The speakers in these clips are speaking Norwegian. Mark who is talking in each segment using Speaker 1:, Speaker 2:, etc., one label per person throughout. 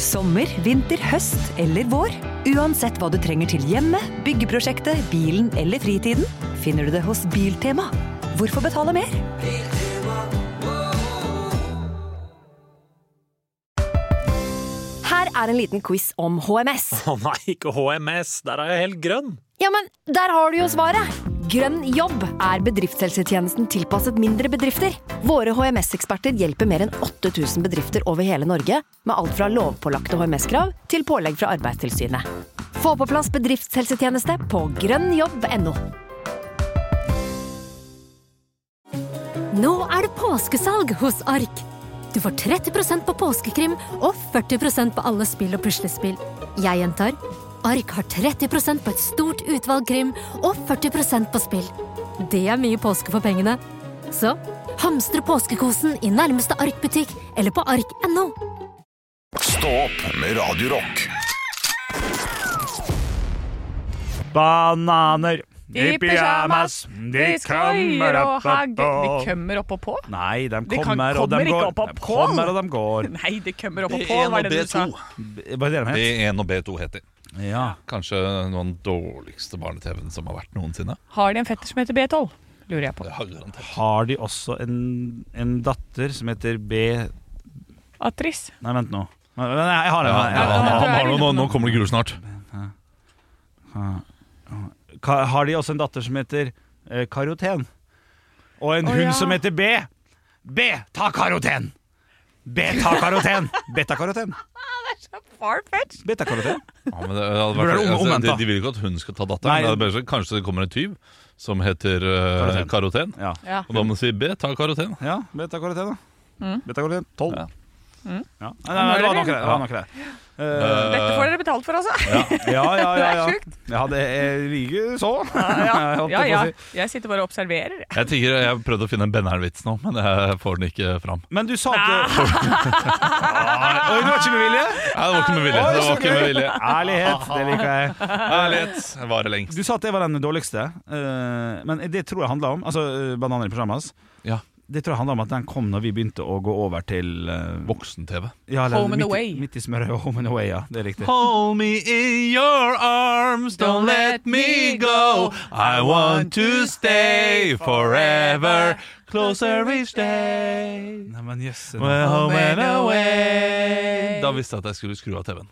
Speaker 1: Sommer, vinter, høst eller vår. Uansett hva du trenger til hjemmet, byggeprosjektet, bilen eller fritiden, finner du det hos Biltema. Hvorfor betale mer?
Speaker 2: Her er en liten quiz om HMS.
Speaker 3: Å nei, ikke HMS. Der er jeg helt grønn.
Speaker 2: Ja, men der har du jo svaret! Grønn jobb er bedriftshelsetjenesten tilpasset mindre bedrifter. Våre HMS-eksperter hjelper mer enn 8000 bedrifter over hele Norge med alt fra lovpålagte HMS-krav til pålegg fra Arbeidstilsynet. Få på plass bedriftshelsetjeneste på grønnjobb.no.
Speaker 4: Nå er det påskesalg hos Ark. Du får 30 på påskekrim og 40 på alle spill og puslespill. Jeg gjentar Ark har 30 på et stort utvalg krim og 40 på spill. Det er mye påske for pengene. Så hamstre påskekosen i nærmeste Ark-butikk eller på ark.no.
Speaker 5: Stå opp med Radio Rock.
Speaker 6: Bananer
Speaker 7: I pyjamas.
Speaker 6: De kommer opp og på.
Speaker 7: De kommer opp og på?
Speaker 6: Nei, de
Speaker 7: kan-
Speaker 6: kommer og de
Speaker 7: kommer ikke
Speaker 6: går.
Speaker 7: opp og
Speaker 6: De
Speaker 7: på.
Speaker 6: kommer og de går.
Speaker 7: Nei, de kommer opp og på,
Speaker 8: B1
Speaker 7: var
Speaker 8: og
Speaker 7: det det du sa.
Speaker 8: B2.
Speaker 6: Hva er det de het?
Speaker 8: B1 og B2 heter
Speaker 6: Ja.
Speaker 8: Kanskje noen dårligste barne-TV-en som har vært noensinne.
Speaker 7: Har de en fetter som heter B12? Lurer jeg på.
Speaker 8: Det har garantert
Speaker 6: Har de også en, en datter som heter B Nei,
Speaker 7: Atris.
Speaker 6: vent nå. Nei, jeg har
Speaker 8: Ja,
Speaker 6: en. Jeg har en.
Speaker 8: han,
Speaker 7: ja,
Speaker 8: han
Speaker 7: ja.
Speaker 8: har noe, nå, nå kommer det gull snart.
Speaker 6: Ka- Har de også en datter som heter eh, Karoten? Og en
Speaker 7: Å,
Speaker 6: hund
Speaker 7: ja.
Speaker 6: som heter B. B, ta karoten! B, ta karoten! Betakaroten.
Speaker 7: Farfetch.
Speaker 6: Betakaroten.
Speaker 8: Ja, men det hadde vært,
Speaker 6: Burde det være
Speaker 8: altså,
Speaker 6: omvendt,
Speaker 8: de,
Speaker 6: da?
Speaker 8: de vil ikke at hun skal ta
Speaker 6: Nei.
Speaker 8: datteren. Det er bedre, så kanskje det kommer en tyv som heter eh,
Speaker 6: Karoten.
Speaker 8: karoten.
Speaker 6: Ja.
Speaker 7: Ja.
Speaker 8: Og da må du si B, ta karoten.
Speaker 6: ja betakaroten, da.
Speaker 7: Mm.
Speaker 6: Betakaroten 12.
Speaker 8: Ja.
Speaker 6: Ja. Nei, nei, det var nok det. det, var nok det. Eh,
Speaker 7: Dette får dere betalt for, altså.
Speaker 8: Eh,
Speaker 6: ja, ja, ja, ja.
Speaker 7: Det er sjukt.
Speaker 6: ja det er like så. Jeg holdt på
Speaker 7: Ja,
Speaker 6: å
Speaker 7: ja.
Speaker 6: si.
Speaker 7: Jeg sitter bare og observerer.
Speaker 8: Jeg tenker, jeg prøvde å finne en Benner'n-vits nå, men jeg får den ikke fram.
Speaker 6: Men du sa at Ah, Oi, det var ikke med vilje?
Speaker 8: Nei, det var ikke med vilje.
Speaker 6: Oi,
Speaker 8: Det
Speaker 6: så
Speaker 8: var ikke med
Speaker 6: gøy.
Speaker 8: vilje.
Speaker 6: Ærlighet, det liker jeg.
Speaker 8: Ærlighet varer lengst.
Speaker 6: Du sa at det var den dårligste, eh, men det tror jeg handla om Altså eh, bananer i pyjamas.
Speaker 8: Ja.
Speaker 6: Det tror jeg handla om at den kom når vi begynte å gå over til eh,
Speaker 8: Voksen-TV.
Speaker 6: ja, eller
Speaker 7: Home
Speaker 6: midt, i-
Speaker 7: and Away.
Speaker 6: Midt i smøret og Home and Away, ja. Det er riktig.
Speaker 8: Hold me in your arms, don't let me go. I want to stay forever, closer each day.
Speaker 6: Nei, men jøsse.
Speaker 8: We're home and away. Da visste jeg at jeg skulle skru av TV-en.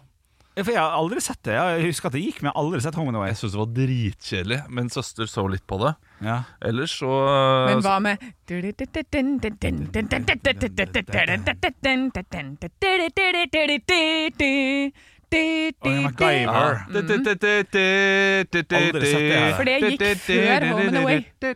Speaker 6: For jeg har aldri sett det. Jeg husker at det gikk, men jeg har aldri sett Home and Away.
Speaker 8: Jeg syntes det var dritkjedelig. Min søster så litt på det.
Speaker 6: Ja.
Speaker 8: Ellers så
Speaker 7: Men hva med For
Speaker 6: MacGyver.
Speaker 8: Mm. Aldri
Speaker 6: Aldri sett det her.
Speaker 7: det gikk før Home and Away.
Speaker 8: Ja.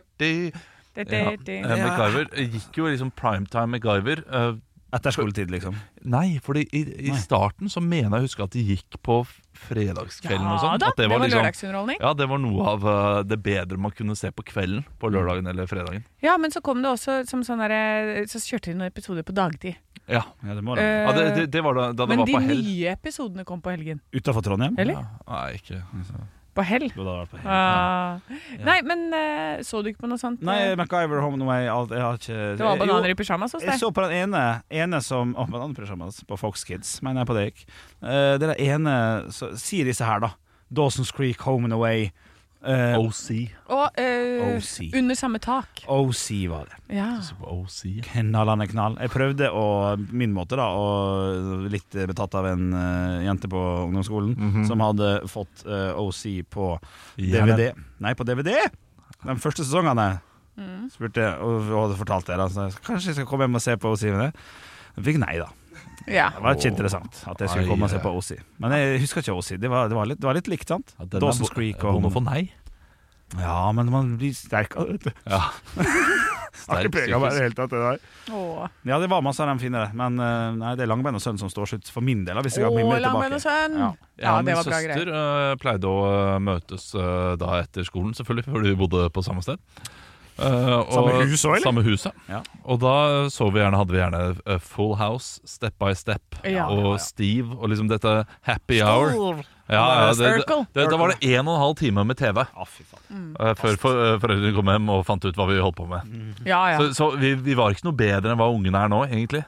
Speaker 8: Eh, MacGyver eh, gikk jo liksom primetime MacGyver. eh,
Speaker 6: Etter skoletid, liksom.
Speaker 8: Nei, fordi i, i
Speaker 6: Nei.
Speaker 8: starten så mener jeg å huske at de gikk på f- fredagskvelden og
Speaker 7: Ja
Speaker 8: sånn.
Speaker 7: da,
Speaker 8: at
Speaker 7: det var
Speaker 8: liksom-
Speaker 7: lørdagsunderholdning.
Speaker 8: Ja, det var noe av eh, det bedre man kunne se på kvelden.
Speaker 7: Mm.
Speaker 8: På lørdagen eller fredagen.
Speaker 7: Ja, men så kom det også som sånn derre Så kjørte de noen episoder på dagtid.
Speaker 8: Ja,
Speaker 6: Ja, det må det.
Speaker 8: ja det, det,
Speaker 7: Eh,
Speaker 8: det var da, da det
Speaker 7: Men
Speaker 8: var
Speaker 7: de
Speaker 8: på hell.
Speaker 7: nye episodene kom på helgen.
Speaker 6: Utafor Eh, Trondheim?
Speaker 7: Eller?
Speaker 8: Ja, nei, ikke
Speaker 7: På hell.
Speaker 6: Jo, det hadde vært på helt-
Speaker 7: Ah. Nei, men eh, så du ikke på noe sånt?
Speaker 6: Nei, MacGyver, Home and Away alt, Jeg har ikke
Speaker 7: Det var bananer i pysjamas hos
Speaker 6: Jeg
Speaker 7: deg.
Speaker 6: så på den ene, ene som Å, bananer i pyjamas på Fox Kids, mener jeg på det gikk. Eh, det er den ene så, Sier disse her, da. Dawson's Creek, Home and Away. eh,
Speaker 8: OC.
Speaker 7: Og eh,
Speaker 8: Oh,
Speaker 6: OC.
Speaker 7: Under samme tak.
Speaker 6: OC var det.
Speaker 7: Ja.
Speaker 8: Så på OC.
Speaker 6: Knallende knall. Jeg prøvde å min måte, da, og litt betatt av en eh, jente på ungdomsskolen som hadde fått eh, OC på
Speaker 8: Ja,
Speaker 6: DVD. Nei, på DVD! De første sesongene. Spurte jeg, og, og hadde fortalt det. da, så jeg, Kanskje jeg skal komme hjem og se på OC med det? Jeg fikk nei, da.
Speaker 7: ja.
Speaker 6: Det var ikke interessant at jeg skulle komme og se på OC. Men jeg husker ikke OC. Det var, det var, litt, det var litt likt, sant?
Speaker 8: Ja, den er
Speaker 6: Dawson's
Speaker 8: bo-
Speaker 6: Creek
Speaker 8: Bond
Speaker 6: og
Speaker 8: for nei.
Speaker 6: Ja, men man blir sterk av det.
Speaker 8: Ja.
Speaker 6: Har
Speaker 8: Sterk
Speaker 6: ikke prega meg i
Speaker 8: psykisk.
Speaker 6: det hele tatt, det der.
Speaker 7: Åh.
Speaker 6: Ja, det var masse av dem fine, men eh, nei, det er Langbein og Sønn som står slutt for min del. da, Hvis jeg
Speaker 7: Å,
Speaker 6: har mye mer
Speaker 7: Langbein og
Speaker 6: tilbake.
Speaker 7: sønn! Ja,
Speaker 6: Ja.
Speaker 7: det var
Speaker 8: min
Speaker 7: bra greier.
Speaker 8: søster eh, pleide å eh, møtes eh, da etter skolen, selvfølgelig, fordi vi bodde på samme sted. Eh, og-
Speaker 6: Samme hus også, eller?
Speaker 8: Samme hus, ja.
Speaker 6: Ja.
Speaker 8: Og da eh, så vi gjerne, hadde vi gjerne eh, Full House, Step by Step
Speaker 7: Ja.
Speaker 8: og Steve og liksom dette Happy Hour. Ja, ja, det, det,
Speaker 7: Circle. Mm.
Speaker 8: det, da var det en og en halv time med TV
Speaker 6: Ja, fy faen.
Speaker 8: eh, før for, eh, foreldrene kom hjem og fant ut hva vi holdt på med.
Speaker 7: Ja, ja.
Speaker 8: Så, så vi, vi var ikke noe bedre enn hva ungene er nå, egentlig.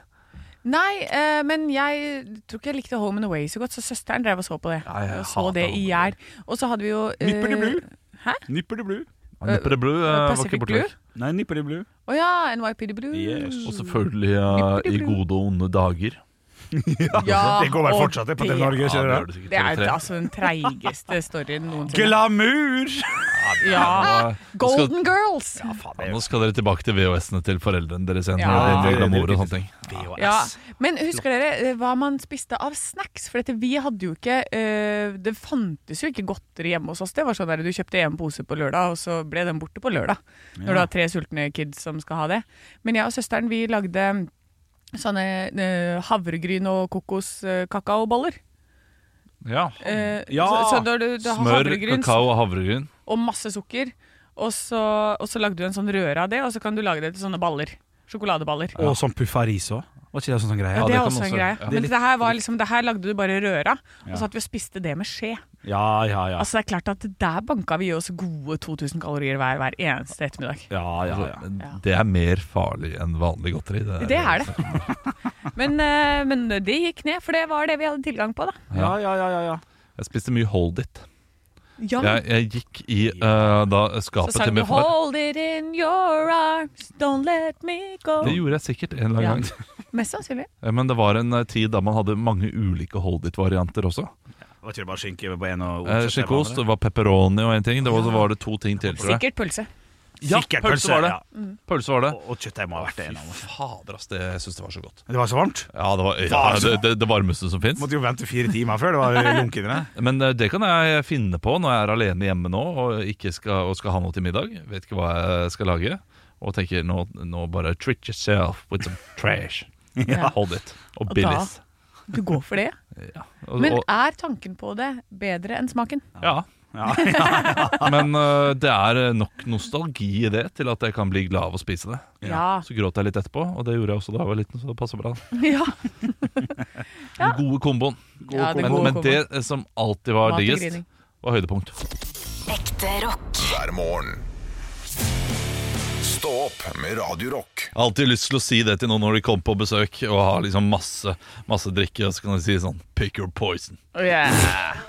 Speaker 7: Nei, eh, men jeg tror ikke jeg likte Home and Away så godt, så søsteren drev og så på det.
Speaker 8: Ja, jeg
Speaker 7: og så
Speaker 8: hater
Speaker 7: det
Speaker 8: Home
Speaker 7: i
Speaker 8: and
Speaker 7: hjel. Og så hadde vi jo eh,
Speaker 6: Nipper de blue?
Speaker 7: Hæ?
Speaker 6: Nipper de blue?
Speaker 8: Nipper det blue eh, var
Speaker 7: Pacific
Speaker 8: ikke
Speaker 7: Blue?
Speaker 8: borte vekk.
Speaker 6: Nei, nipper de blue.
Speaker 7: Å ja, NYPD Blue.
Speaker 6: Yes.
Speaker 8: Og selvfølgelig eh, I gode og onde dager.
Speaker 7: Ja,
Speaker 6: Det går vel
Speaker 7: og
Speaker 6: fortsatt det på TV-Norge,
Speaker 8: Ja,
Speaker 6: kjører
Speaker 8: gjør
Speaker 6: det?
Speaker 8: sikkert
Speaker 7: Det er
Speaker 8: TV3.
Speaker 7: altså den treigeste storyen noensinne.
Speaker 6: Glamour!
Speaker 7: Ja.
Speaker 8: Ja, nå skal-
Speaker 7: Golden Girls!
Speaker 8: Ja, nå skal dere tilbake til VHS-ene til foreldrene deres igjen.
Speaker 7: Ja.
Speaker 8: når det gjelder glamour og sånne ting.
Speaker 7: Ja. Men husker dere eh, hva man spiste av snacks? For dette, vi hadde jo ikke eh, Det fantes jo ikke godteri hjemme hos oss. Det var sånn der, Du kjøpte en pose på lørdag, og så ble den borte på lørdag. Når du har tre sultne kids som skal ha det. Men jeg og søsteren vi lagde sånne eh, havregryn og eh, kokoskakaoboller.
Speaker 8: Ja.
Speaker 7: Uh,
Speaker 6: Ja!
Speaker 7: Så, så når du, du har
Speaker 8: Smør,
Speaker 7: havregryn
Speaker 8: kakao og havregryn.
Speaker 7: og masse sukker, og så, og så lagde du en sånn røre av det, og så kan du lage det til såne baller. Sjokoladeballer.
Speaker 6: Og sånn puffaris òg. Var ikke det sånn, sånn greie?
Speaker 7: Ja, det
Speaker 8: det
Speaker 7: er
Speaker 8: kan
Speaker 7: også en
Speaker 8: også-
Speaker 7: greie.
Speaker 8: ja.
Speaker 7: Men det her, var liksom, det her lagde du bare røra,
Speaker 6: Ja.
Speaker 7: og så at vi og spiste det med skje.
Speaker 6: Ja, ja, ja.
Speaker 7: Altså det er klart at Der banka vi i oss gode 2000 kalorier hver hver eneste ettermiddag.
Speaker 6: ja, ja, ja.
Speaker 8: Altså, Det er mer farlig enn vanlig godteri.
Speaker 7: Det er det. Men, eh, men det gikk ned, for det var det vi hadde tilgang på, da.
Speaker 6: ja, ja, ja, ja, ja.
Speaker 8: Jeg spiste mye Hold It.
Speaker 7: Ja.
Speaker 8: Jeg, jeg gikk i eh, da
Speaker 7: Så
Speaker 8: skapet til
Speaker 7: sang du
Speaker 8: min far.
Speaker 7: 'Hold it in your arms, don't let me
Speaker 8: Det
Speaker 7: go'.
Speaker 8: gjorde jeg sikkert en eller
Speaker 7: Ja.
Speaker 8: annen gang.
Speaker 7: Mest sannsynlig.
Speaker 8: Eh, Men det var en eh, tid da man hadde mange ulike Hold It-varianter også.
Speaker 6: Var ikke det bare skinke på en og
Speaker 8: Eh, Skinkeost, det var pepperoni og en ting. Det var, så var det to ting til, tror jeg.
Speaker 7: Sikkert pølse.
Speaker 8: Ja,
Speaker 6: Sikkert
Speaker 8: pølse var det.
Speaker 6: ja.
Speaker 8: Pølse var det.
Speaker 6: Og, og kjøttdeig må ha vært det. en av dem.
Speaker 8: Fader, ass, det syns det var så godt.
Speaker 6: Det var så varmt.
Speaker 8: Ja, det var
Speaker 6: Faen,
Speaker 8: ja,
Speaker 6: så-
Speaker 8: det, det, det varmeste som fins.
Speaker 6: Måtte jo vente fire timer før det var lunken i det.
Speaker 8: Men eh, det kan jeg finne på når jeg er alene hjemme nå og, ikke skal, og skal ha noe til middag. Vet ikke hva jeg skal lage. Og tenker nå, nå bare treat yourself with some trash. Hold it. Og
Speaker 7: Og
Speaker 8: Billies.
Speaker 7: Du går for det.
Speaker 8: Ja. Og,
Speaker 7: Men
Speaker 8: og,
Speaker 7: er tanken på det bedre enn smaken?
Speaker 8: ja.
Speaker 6: Ja,
Speaker 8: Men eh, det er nok nostalgi i det til at jeg kan bli glad av å spise det.
Speaker 7: Ja.
Speaker 8: Så gråt jeg litt etterpå, og det gjorde jeg også da jeg var liten. Så det passer bra.
Speaker 7: Ja,
Speaker 8: Den gode komboen.
Speaker 7: Ja, den
Speaker 8: men,
Speaker 7: gode
Speaker 8: men
Speaker 7: komboen.
Speaker 8: det eh, som alltid var
Speaker 7: Mat og
Speaker 8: diggest,
Speaker 7: grining.
Speaker 8: var høydepunkt.
Speaker 1: Ekte rock.
Speaker 5: hver morgen. Stå opp med Radio Rock.
Speaker 8: Jeg har alltid lyst til å si det til noen når de kommer på besøk og har liksom masse, masse drikke. Og så kan de si sånn Pick your poison.
Speaker 7: Å, ja.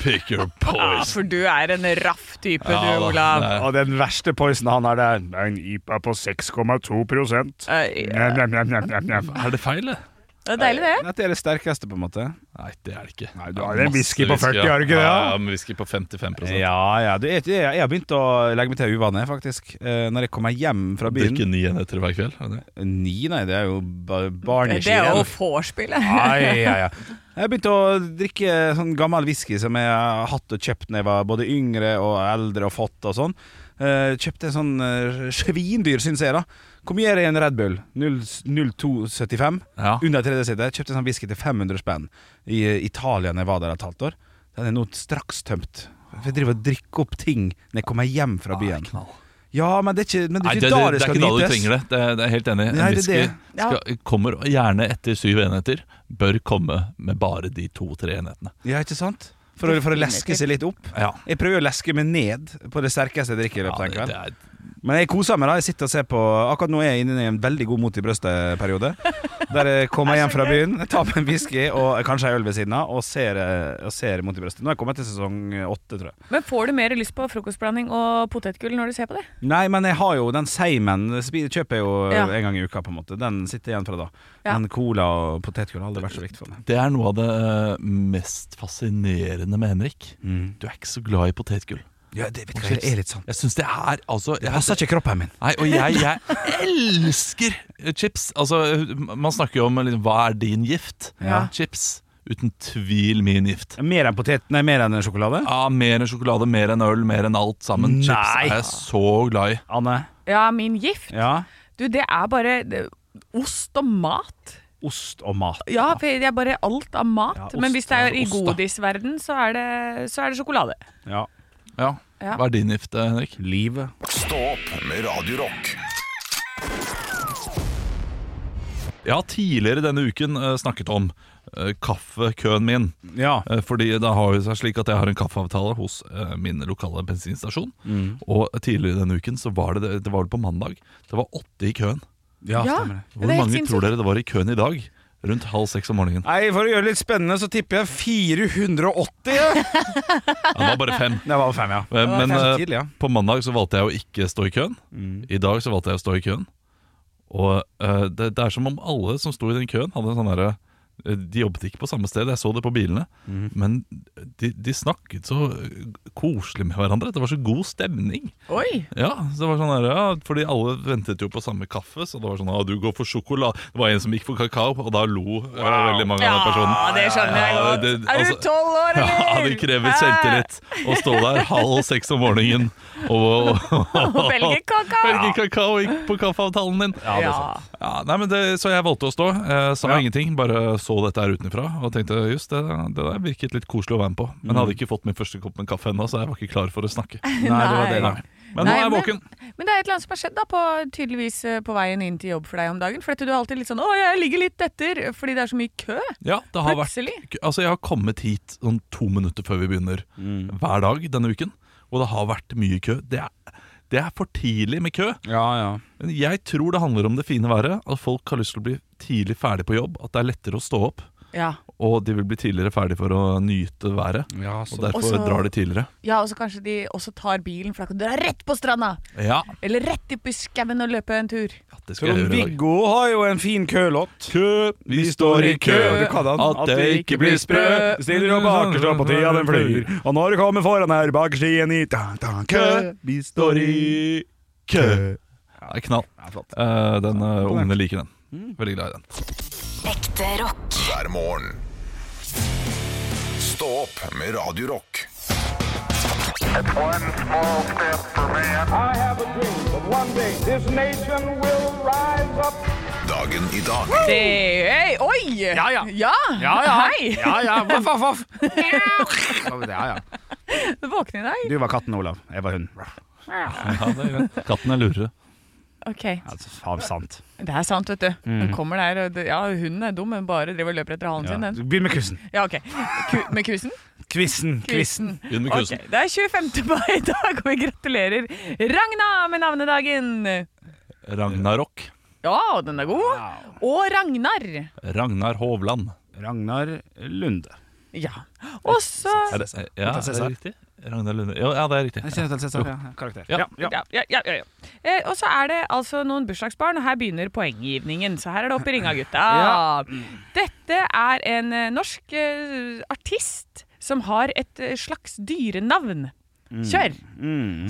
Speaker 8: Pick your
Speaker 7: Oh, Ah,
Speaker 8: poison.
Speaker 7: for du er en raff type,
Speaker 8: Ja,
Speaker 7: du,
Speaker 8: da,
Speaker 7: Olav.
Speaker 8: det er-
Speaker 6: og den verste poisen han har, det er en IPA på 6,2 prosent.
Speaker 7: Eh, ja.
Speaker 6: Njam, njam, njam, njam, njam.
Speaker 8: Er det feil, det?
Speaker 7: Det er deilig, det.
Speaker 6: Dette er det sterkeste, på en måte.
Speaker 8: Nei, det er det ikke.
Speaker 6: Nei, du har
Speaker 8: Det er
Speaker 6: en
Speaker 8: masse
Speaker 6: whisky på 40, har du ikke det,
Speaker 8: Ja,
Speaker 6: da?
Speaker 8: ja, men whisky på 55
Speaker 6: Ja, ja. Du, jeg, jeg, jeg har begynt å legge meg til uvane, faktisk. Eh, når jeg kommer hjem fra byen
Speaker 8: Drikke ni enheter hver kveld. er det det?
Speaker 6: Ni, nei, det er jo ba-
Speaker 7: Det er jo
Speaker 6: barneskirenn.
Speaker 7: vorspielet.
Speaker 6: Ai, ai, ai. Jeg begynte å drikke sånn gammel whisky som jeg har hatt og kjøpt når jeg var både yngre og eldre og fått og sånn. Eh, kjøpte en sånn eh, svindyr, syns jeg, da. Kom og gjør en Red Bull 0275.
Speaker 8: Ja.
Speaker 6: Under tredje side. Kjøpte en sånn whisky til 500 spenn i eh, Italia når jeg var der et halvt år. Den er nå straks tømt. For jeg driver og drikker opp ting når jeg kommer hjem fra byen. Ja, men det er ikke, men det
Speaker 8: Ah, Nei,
Speaker 6: er
Speaker 8: det,
Speaker 6: ikke
Speaker 8: det,
Speaker 6: da
Speaker 8: det
Speaker 6: det
Speaker 8: er
Speaker 6: skal
Speaker 8: ikke da du
Speaker 6: nytes.
Speaker 8: trenger det. Det er, det er helt enig. En
Speaker 6: Nei, det er
Speaker 8: whisky
Speaker 6: det.
Speaker 8: skal, kommer gjerne etter syv enheter. Bør komme med bare de to-tre enhetene.
Speaker 6: Ja, ikke sant? For å, for å leske seg litt opp.
Speaker 8: Ja.
Speaker 6: Jeg prøver å leske meg ned på det sterkeste jeg drikker. i løpet av en
Speaker 8: det,
Speaker 6: kveld
Speaker 8: det er
Speaker 6: Men jeg koser meg. da Jeg sitter og ser på Akkurat nå er jeg inne i en veldig god mot i brøstet-periode. Der jeg kommer hjem fra byen, jeg tar meg en whisky og kanskje ei øl ved siden av og ser, eh, og ser mot i brøstet. Nå er jeg kommet til sesong åtte, tror jeg.
Speaker 7: Men får du mer lyst på frokostblanding og potetgull når du ser på det?
Speaker 6: Nei, men jeg har jo den seimen spi- kjøper jeg jo
Speaker 7: Ja.
Speaker 6: en gang i uka, på en måte. Den sitter igjen fra da.
Speaker 7: Ja.
Speaker 6: Men cola og potetgull har aldri vært så viktig for meg.
Speaker 8: Det er noe av det eh, mest fascinerende med Henrik. Du er ikke så glad i potetgull.
Speaker 6: Ja, det vet du hva, jeg er litt sånn.
Speaker 8: Jeg syns det er altså
Speaker 6: Det
Speaker 8: jeg,
Speaker 6: passer ikke kroppen min.
Speaker 8: Nei, og jeg, jeg elsker chips. Altså, man snakker jo om liksom, hva er din gift?
Speaker 7: Ja.
Speaker 8: Chips. Uten tvil min gift.
Speaker 6: Mer enn potet, nei, mer enn sjokolade?
Speaker 8: Ja, Mer enn sjokolade, mer enn øl, mer enn alt sammen. Chips
Speaker 6: Nei.
Speaker 8: er jeg så glad i.
Speaker 6: Anne?
Speaker 7: Ja, min gift.
Speaker 6: Ja?
Speaker 7: Du, det er bare det, ost og mat.
Speaker 6: Ost og mat.
Speaker 7: Ja, for jeg er bare alt av mat.
Speaker 6: Ja, ost,
Speaker 7: Men hvis det er i
Speaker 6: ost, da.
Speaker 7: godisverden, så er det, så er det sjokolade.
Speaker 6: Ja.
Speaker 8: Ja.
Speaker 7: Ja.
Speaker 8: Hva er din gift, Henrik?
Speaker 6: Livet.
Speaker 5: Stå opp med Radio Rock.
Speaker 8: Jeg har tidligere denne uken eh, snakket om eh, kaffekøen min.
Speaker 6: Ja.
Speaker 8: Eh, Fordi det har jo seg slik at jeg har en kaffeavtale hos eh, min lokale bensinstasjon.
Speaker 6: Mm.
Speaker 8: Og tidligere denne uken, så var det, det var vel på mandag, det var åtte i køen.
Speaker 6: Ja,
Speaker 7: Ja.
Speaker 6: stemmer det.
Speaker 8: Hvor
Speaker 7: Det er helt
Speaker 8: mange
Speaker 7: sinnssykt.
Speaker 8: tror dere det var i køen i dag? rundt halv seks om morgenen.
Speaker 6: Nei, For å gjøre det litt spennende, så tipper jeg 480. Ja.
Speaker 8: Ja, det var bare fem. Eh,
Speaker 6: Det var fem, ja.
Speaker 8: Men, men
Speaker 6: fem
Speaker 8: eh,
Speaker 6: tidlig, ja. Mm.
Speaker 8: på mandag så valgte jeg å ikke stå i køen. I dag så valgte jeg å stå i køen. Og eh, det, det er som om alle som sto i den køen, hadde en sånn derre eh, De jobbet ikke på samme sted, jeg så det på bilene.
Speaker 6: Mm.
Speaker 8: Men de, de snakket så koselig med hverandre. Det var så god stemning.
Speaker 7: Oi!
Speaker 8: Ja, så det var sånn her, ja, fordi alle ventet jo på samme kaffe, så det var sånn ah, du går for sjokolade. Det var en som gikk for kakao, og da lo eh, veldig mange av den personen.
Speaker 7: Ja, det skjønner jeg
Speaker 8: Ja,
Speaker 7: godt.
Speaker 8: det-
Speaker 7: er
Speaker 8: altså-
Speaker 7: du tolv år, eller?
Speaker 8: Ja, det krever selvtillit å stå der halv seks om morgenen og,
Speaker 7: Og velge kakao.
Speaker 8: Velge kakao gikk på kaffeavtalen din.
Speaker 7: Ja, det er
Speaker 8: Ja, nei, men det, så jeg valgte å stå. Eh, sa
Speaker 6: Ja.
Speaker 8: ingenting, bare så dette her utenfra og tenkte just det, det der virket litt koselig å være med på. Men jeg hadde ikke fått min første kopp med kaffe ennå, så jeg var ikke klar for å snakke.
Speaker 6: Nei, det var det,
Speaker 8: Nei.
Speaker 6: da.
Speaker 8: Men nå er jeg
Speaker 7: Nei,
Speaker 8: våken.
Speaker 7: Men det er et eller annet som har skjedd da, på, tydeligvis eh, på veien inn til jobb for deg om dagen. For at du er alltid litt sånn 'Å, jeg ligger litt etter', fordi det er så mye kø.
Speaker 8: Ja, det har vært
Speaker 7: Plutselig.
Speaker 8: Altså, jeg har kommet hit sånn to minutter før vi begynner hver dag denne uken, og det har vært mye kø. Det er, det er for tidlig med kø.
Speaker 6: Ja, ja.
Speaker 8: Men jeg tror det handler om det fine været, at folk har lyst til å bli tidlig ferdig på jobb, at det er lettere å stå opp,
Speaker 7: Ja.
Speaker 8: og de vil bli tidligere ferdig for å nyte været.
Speaker 6: ja
Speaker 8: Og
Speaker 6: så.
Speaker 8: derfor
Speaker 7: Også-
Speaker 8: drar de tidligere.
Speaker 7: ja, og så kanskje de også tar bilen, for da kan du dra rett på stranda!
Speaker 8: Ja,
Speaker 7: Eller rett opp i skauen og løpe en tur.
Speaker 8: det skal jeg gjøre i dag.
Speaker 6: Trond-Viggo har jo en fin kølåt.
Speaker 8: Kø, vi står i kø,
Speaker 6: Du kan den.
Speaker 8: at det ikke blir sprø.
Speaker 6: Stiller opp bakerst, og på tida den flyr. Og når du kommer foran her, bakerst i en i ta, ta, kø. Vi står i
Speaker 8: kø. Ja, det er knall.
Speaker 6: Ja, flott.
Speaker 8: Eh, den eh, ungene liker den. Veldig glad i den.
Speaker 1: Ekte rock.
Speaker 5: hver morgen. Stå opp med Radio Rock.
Speaker 9: I have a dream that one day this nation will rise up.
Speaker 5: Dagen i dag.
Speaker 7: Det, hey, oi!
Speaker 6: Ja, ja.
Speaker 7: Ja, Hei!
Speaker 6: Ja, ja. Voff, voff, voff. Ja, ja.
Speaker 7: Du våkner i dag?
Speaker 6: Du var katten, Olav. Jeg var hunden.
Speaker 8: Ja, det er greit. Katten er lurere.
Speaker 7: Ok.
Speaker 6: Altså, faen sant.
Speaker 7: Det er sant, vet du. Den kommer der, og det, ja, hunden er dum, men bare driver og løper etter halen
Speaker 6: Mm. Ja.
Speaker 7: sin, den.
Speaker 6: Begynn med kussen.
Speaker 7: Ja, ok. Ku, med kusen?
Speaker 6: Kvissen. Kvissen.
Speaker 8: Begynn med
Speaker 7: Ok,
Speaker 8: kusen.
Speaker 7: Det er 25. mai i dag, og vi gratulerer Ragna med navnedagen!
Speaker 8: Ragnarok.
Speaker 7: Ja, den er god. Og Ragnar.
Speaker 8: Ragnar Hovland.
Speaker 6: Ragnar Lunde.
Speaker 7: Ja. Og så
Speaker 8: Er det, ja, er
Speaker 6: Hotel
Speaker 8: det
Speaker 6: Cæsar.
Speaker 8: riktig? Ragnar Lunde. Ja, ja, det er riktig.
Speaker 6: Karakter.
Speaker 8: Ja.
Speaker 6: ja.
Speaker 7: ja, ja, ja, ja, ja. Eh, og så er det altså noen bursdagsbarn, og her begynner poenggivningen. Så her er det opp i ringa, gutta. Dette er en eh, norsk eh, artist som har et eh, slags dyrenavn. Kjør!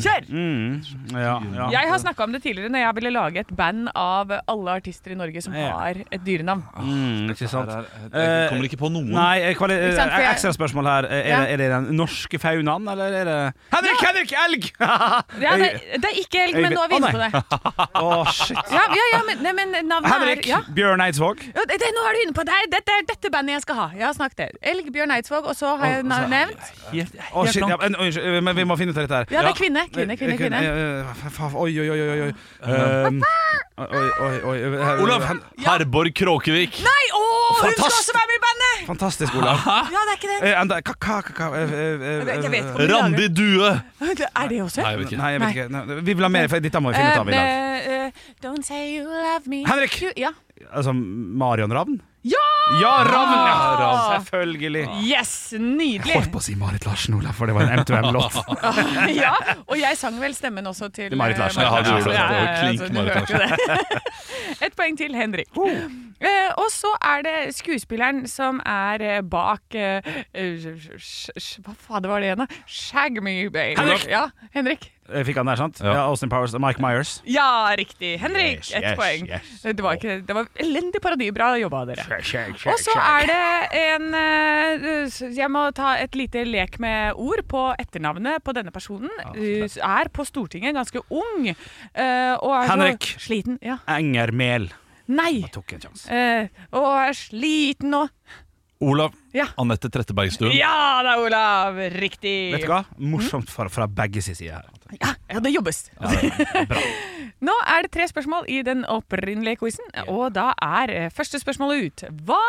Speaker 7: Kjør!
Speaker 6: Mm, ja, Mm. ja.
Speaker 7: Jeg har snakka om det tidligere når jeg ville lage et band av alle artister i Norge som
Speaker 6: Ja.
Speaker 7: har et dyrenavn.
Speaker 6: Mm, ikke sant.
Speaker 8: Her er- Jeg kommer ikke på noen.
Speaker 6: Nei, eh, kvali-
Speaker 7: Ikke sant, for
Speaker 6: eh,
Speaker 7: jeg-
Speaker 6: ekstra spørsmål her. Eh, Er,
Speaker 7: Ja.
Speaker 6: det, er det den norske faunaen, eller er det Henrik, Henrik, elg!
Speaker 7: Det er, det er ikke elg, men nå er
Speaker 6: Å,
Speaker 7: vi inne på det.
Speaker 6: Å, shit.
Speaker 7: Ja, ja, ja, men, nei, men navnet
Speaker 6: Henrik
Speaker 7: er ja.
Speaker 6: Bjørn Eidsvåg.
Speaker 7: Ja, det, det, nå er du inne på det. Dette er dette bandet jeg skal ha. Jeg har snakket det. Elg, Bjørn Eidsvåg, og så har jeg
Speaker 6: altså,
Speaker 7: na- nevnt
Speaker 8: Helt,
Speaker 6: Å, shit, ja, men, unnskyld, men vi må finne ut av dette her.
Speaker 7: Ja, det er kvinne. Kvinne, kvinne, kvinne.
Speaker 6: Eh, eh, faen, Oi, oi, oi, oi, oi. Um, Oi, oi, oi. eh,
Speaker 8: Olav
Speaker 6: Hen-
Speaker 8: Herborg Kråkevik.
Speaker 7: Nei, å, hun skal
Speaker 6: Fantast-
Speaker 7: også være med i bandet!
Speaker 6: Fantastisk, Olav.
Speaker 7: Ja, det er ikke det.
Speaker 6: Eh, Enda Kaka, kaka
Speaker 7: Jeg vet ikke om de
Speaker 8: Randi Due.
Speaker 7: lager- Er det også?
Speaker 8: Nei, jeg vet ikke.
Speaker 6: eh, Nei, jeg vet ikke. Nei, Vi vil ha mer, for dette må vi finne ut av i dag.
Speaker 7: Eh, eh, don't say you love me
Speaker 6: Henrik!
Speaker 7: You- Ja.
Speaker 6: Altså, Marion Ravn?
Speaker 7: ja!
Speaker 6: Ja, Ravn! Ja,
Speaker 7: Ravn.
Speaker 6: Selvfølgelig.
Speaker 7: Yes!
Speaker 6: Jeg holdt
Speaker 7: Nydelig.
Speaker 6: på å si Marit Larsen, Olav, for det var en M2M-låt.
Speaker 7: ja, og jeg sang vel stemmen også til
Speaker 6: Til Marit
Speaker 7: eh,
Speaker 6: Larsen.
Speaker 8: Ja, du gjorde det.
Speaker 7: Ja,
Speaker 8: Det var
Speaker 7: ja,
Speaker 8: klink
Speaker 7: altså, du
Speaker 8: Marit
Speaker 7: hørte det. Et poeng til Henrik. Eh, og så er det skuespilleren som er eh, bak eh, eh, sj- sj- sj- Hva fader var det igjen, da? Shag me, baby.
Speaker 6: Henrik!
Speaker 7: Ja, Henrik.
Speaker 6: Jeg Eh, Fikk han der, sant? Ja. Austin Powers og Mike Myers.
Speaker 7: Ja, riktig. Henrik,
Speaker 6: Yes,
Speaker 7: ett
Speaker 6: yes,
Speaker 7: poeng.
Speaker 6: yes.
Speaker 7: Det var, ikke, det var elendig parodi. Bra jobba, dere. Og
Speaker 6: Og
Speaker 7: så er det en eh, s- Jeg må ta et lite lek med ord på etternavnet på denne personen. Eh, s- Er på Stortinget, ganske ung. eh, og er så
Speaker 6: Henrik.
Speaker 7: Sliten. Ja.
Speaker 6: Engermel.
Speaker 7: Nei!
Speaker 6: Tok en sjanse.
Speaker 7: Eh, og er sliten og
Speaker 8: Olav
Speaker 7: Ja.
Speaker 8: Anette Trettebergstuen.
Speaker 7: Ja da, Olav! Riktig.
Speaker 6: Vet du hva? Morsomt fra, fra begge sin side her.
Speaker 7: Ja, ja, det jobbes.
Speaker 6: Bra.
Speaker 7: Nå er det tre spørsmål i den opprinnelige quizen, og da er eh, første spørsmålet ut. Hva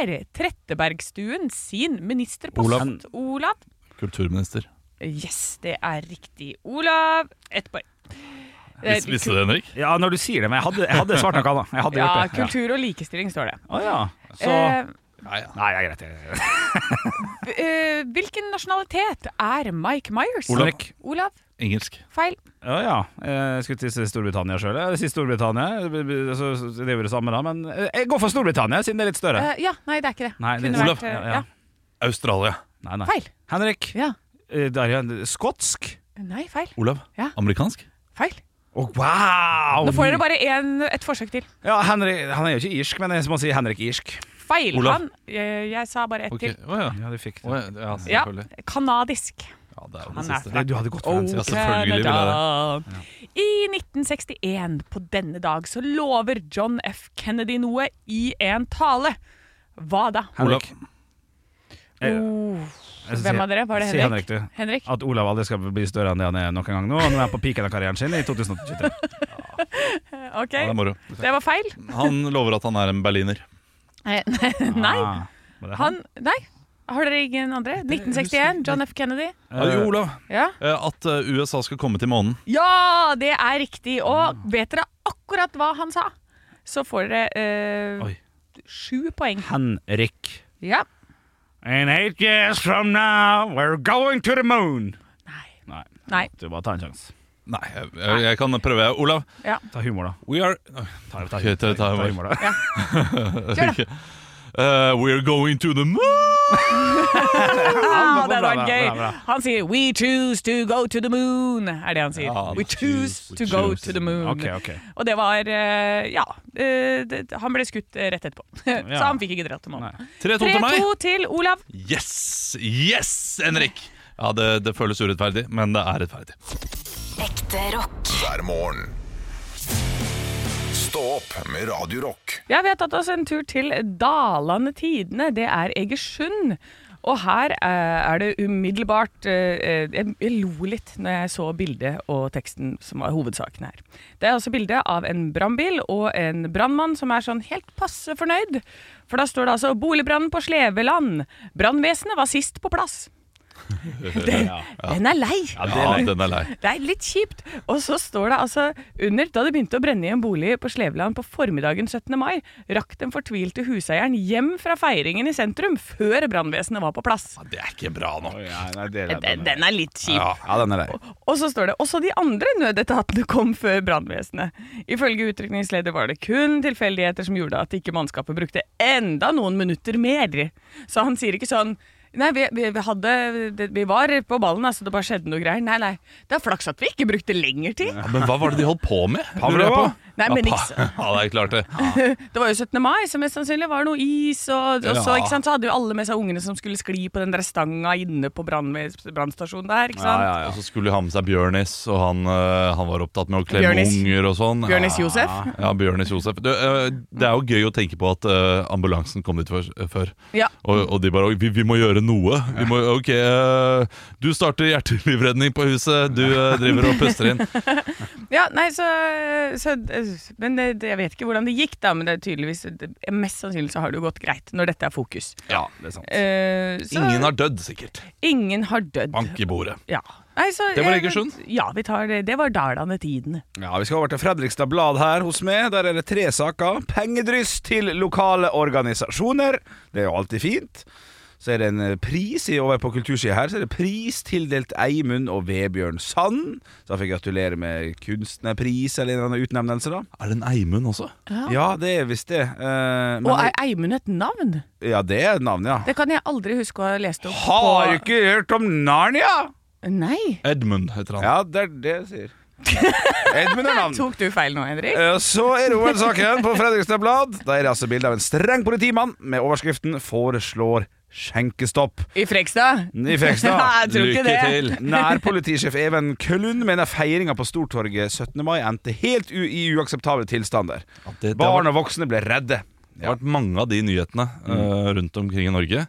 Speaker 7: er Trettebergstuen sin ministerpost?
Speaker 8: Olav.
Speaker 7: Olav?
Speaker 8: Kulturminister.
Speaker 7: Yes, det er riktig. Olav, ett poeng. Eh,
Speaker 8: Visste du det, Henrik?
Speaker 6: Ja, når du sier det, men jeg hadde, jeg hadde svart noe annet. Jeg hadde
Speaker 7: Ja,
Speaker 6: gjort det.
Speaker 7: kultur og likestilling står det.
Speaker 6: Ja. Å ja. Så
Speaker 7: Eh,
Speaker 8: Nei, ja.
Speaker 6: Nei, det er greit. det er greit.
Speaker 7: b- eh, hvilken nasjonalitet er Mike Myers?
Speaker 8: Olav.
Speaker 6: Henrik.
Speaker 7: Olav.
Speaker 8: Engelsk.
Speaker 7: Feil.
Speaker 6: Ja, ja. Jeg skulle til å si Storbritannia sjøl. Jeg sier Storbritannia. B- b- Så så det er jo det samme, da. Men eh, jeg går for Storbritannia, siden det er litt større.
Speaker 7: Eh, ja, nei, det er ikke det.
Speaker 6: Nei, det-
Speaker 7: Kunne
Speaker 8: Olav.
Speaker 7: vært, eh,
Speaker 6: Ja, ja.
Speaker 7: ja.
Speaker 8: Australia.
Speaker 6: Nei, nei.
Speaker 7: Feil.
Speaker 6: Henrik.
Speaker 7: Ja.
Speaker 6: Eh, Der igjen. Skotsk.
Speaker 7: Nei, feil.
Speaker 8: Olav.
Speaker 7: Ja.
Speaker 8: Amerikansk.
Speaker 7: Feil.
Speaker 6: Å, wow!
Speaker 7: Nå får dere bare en, et forsøk til.
Speaker 6: Ja, Henrik, Han er jo ikke irsk, men jeg må si Henrik irsk.
Speaker 7: Feil.
Speaker 8: Olav.
Speaker 7: Han, jeg, jeg sa bare ett
Speaker 8: Ok,
Speaker 7: til.
Speaker 8: Å ja.
Speaker 6: Ja, du fikk
Speaker 8: Å,
Speaker 6: det.
Speaker 8: ja. ja,
Speaker 7: Ja,
Speaker 8: selvfølgelig.
Speaker 7: Kanadisk.
Speaker 8: Ja, det er jo
Speaker 7: Han
Speaker 8: den
Speaker 7: er
Speaker 8: siste.
Speaker 6: Det- Du hadde gått for den.
Speaker 8: Ja,
Speaker 6: siden.
Speaker 8: selvfølgelig ville jeg det.
Speaker 7: Canada. I 1961, på denne dag, så lover John F. Kennedy noe i en tale. Hva da?
Speaker 8: Olav.
Speaker 6: Henrik. Eh,
Speaker 7: Oh,
Speaker 6: jeg skal si-
Speaker 7: hvem av dere? Var det
Speaker 6: Si Henrik,
Speaker 7: Henrik?
Speaker 6: du.
Speaker 7: Henrik?
Speaker 6: At Olav aldri skal bli større enn det han er nok en gang nå. Han er på piken av karrieren sin i 2023.
Speaker 7: Ok,
Speaker 8: Ja, det er moro.
Speaker 7: det var feil.
Speaker 8: Han lover at han er en berliner.
Speaker 7: Eh, Nei,
Speaker 6: Ah, var det
Speaker 7: han Nei. Har dere ingen andre? 1961, John F. Kennedy.
Speaker 8: Ja, jo, Olav.
Speaker 7: Ja,
Speaker 8: Eh, At eh, USA skal komme til månen.
Speaker 7: ja det er riktig. Og vet dere akkurat hva han sa? Så får dere eh,
Speaker 6: Oi.
Speaker 7: sju poeng.
Speaker 6: Henrik.
Speaker 7: Ja.
Speaker 6: In eight years from now, we're going to the moon.
Speaker 7: Nei.
Speaker 6: Nei,
Speaker 7: Nei.
Speaker 6: du bare ta en sjanse.
Speaker 8: Nei, jeg, jeg, jeg kan prøve. Olav.
Speaker 6: Ta humor, da.
Speaker 8: We are
Speaker 6: Ta, ta,
Speaker 8: Ok, ta- ta humor.
Speaker 6: da.
Speaker 7: Kjør,
Speaker 8: Eh, We're going to the moon!
Speaker 7: Ja, det
Speaker 6: bra,
Speaker 7: var
Speaker 6: bra,
Speaker 7: gøy.
Speaker 6: bra, bra.
Speaker 7: Han sier 'We choose to go to the moon'. Er det han sier.
Speaker 8: Ja,
Speaker 7: we choose to go to the moon.
Speaker 6: Ok, ok.
Speaker 7: Og det var eh, Ja. eh, det, han ble skutt eh, rett etterpå, så
Speaker 6: Ja.
Speaker 7: han fikk ikke dratt til månen.
Speaker 8: 3-2 til meg.
Speaker 7: 3-2 til Olav.
Speaker 8: Yes! Yes, Henrik! Ja, det, det føles urettferdig, men det er rettferdig.
Speaker 5: hver morgen. Stå opp med Radio Rock.
Speaker 7: Ja, vi har tatt oss en tur til Dalane Tidene. Det er Egersund. Og her eh, er det umiddelbart eh, eh, Jeg jeg lo litt når jeg så bildet og teksten som var hovedsaken her. Det er også bilde av en brannbil og en brannmann som er sånn helt passe fornøyd. For da står det altså 'Boligbrannen på Sleveland'. Brannvesenet var sist på plass. Den, den er lei.
Speaker 8: Ja, den er lei.
Speaker 7: Det er litt kjipt. Og så står det altså under da det begynte å brenne i en bolig på Sleveland på formiddagen 17. mai, rakk den fortvilte huseieren hjem fra feiringen i sentrum før brannvesenet var på plass.
Speaker 8: Ja, det er ikke bra nok.
Speaker 7: Den, den er litt kjip.
Speaker 8: Ja.
Speaker 6: Ja, den er lei.
Speaker 7: Og så står det også de andre nødetatene kom før brannvesenet. Ifølge utrykningsleder var det kun tilfeldigheter som gjorde at ikke mannskapet brukte enda noen minutter mer. Så han sier ikke sånn Nei, vi, vi, vi, hadde, det- vi var på ballen, altså, det bare skjedde noe greier. Nei, nei. Det er flaks at vi ikke brukte lengre tid.
Speaker 8: Ja, men hva var det de holdt på med? lurer jeg
Speaker 6: Pavlova?
Speaker 8: på?
Speaker 7: Nei, men
Speaker 8: ja,
Speaker 7: ikke-
Speaker 8: pa- ja, det er klart det.
Speaker 7: Det var jo 17. mai, så mest sannsynlig var det noe is. Og, og så,
Speaker 8: Ja.
Speaker 7: ikke sant, så hadde jo alle med seg ungene som skulle skli på den der stanga inne på brann- brannstasjonen der. ikke sant?
Speaker 8: Og så skulle de ha med seg Bjørnis, og han, eh, han var opptatt med å klemme
Speaker 7: Bjørnis.
Speaker 8: unger og sånn.
Speaker 7: Bjørnis
Speaker 8: ja.
Speaker 7: Josef.
Speaker 8: Ja, Bjørnis Josef. Det, eh, det er jo gøy å tenke på at eh, ambulansen kom dit før. før.
Speaker 7: Ja.
Speaker 8: Og, og de bare «Oi, vi, 'Vi må gjøre noe'. Vi må, ok, eh, du starter hjertelivredning på huset, du eh, driver og puster inn.
Speaker 7: Ja, nei, så, så Men det, det- jeg vet ikke hvordan det gikk, da. Men det er tydeligvis det, Mest sannsynlig så har det jo gått greit når dette er fokus.
Speaker 8: Ja,
Speaker 6: Det er sant.
Speaker 7: Eh, så
Speaker 8: Ingen har dødd, sikkert.
Speaker 7: ingen har dødd.
Speaker 8: Bank i bordet.
Speaker 7: Ja. Nei, så,
Speaker 8: Det var
Speaker 7: jeg-
Speaker 8: Egersund?
Speaker 7: Ja, vi tar det. Det var Dalane Tidene.
Speaker 6: Ja, Vi skal over til Fredrikstad Blad her hos meg. Der er det tre saker. Pengedryss til lokale organisasjoner. Det er jo alltid fint. Så er det en eh, pris i, over på kultursida her. Så er det pris tildelt Eimund og Vebjørn Sand. Så jeg fikk gratulere med kunstnerpris eller en eller annen utnevnelse, da.
Speaker 8: Er det en Eimund også?
Speaker 6: Ja, det er visst det. Eh, men,
Speaker 7: Og er Eimund et navn?
Speaker 6: ja, det er navnet, ja.
Speaker 7: Det kan jeg aldri huske å ha lest opp.
Speaker 6: Har
Speaker 7: på-
Speaker 6: du ikke hørt om Narnia?
Speaker 7: Nei.
Speaker 8: Edmund heter han.
Speaker 6: Ja, det er det jeg sier. Edmund er navnet.
Speaker 7: Tok du feil nå, Henrik?
Speaker 6: Eh, Så er det OL-saken på Fredrikstad Blad. Da er det altså bilde av en streng politimann med overskriften 'Foreslår skjenkestopp'.
Speaker 7: I Frekstad?
Speaker 6: I Frekstad.
Speaker 7: Nei, jeg tror ikke
Speaker 8: Lykke
Speaker 7: det.
Speaker 8: til!
Speaker 6: Nærpolitisjef Even Køllund mener feiringa på Stortorget 17. mai endte helt u i uakseptable tilstander.
Speaker 8: Ja, det, det har
Speaker 6: Barn
Speaker 8: vært,
Speaker 6: og voksne ble redde.
Speaker 8: det har vært mange av de nyhetene eh, rundt omkring i Norge.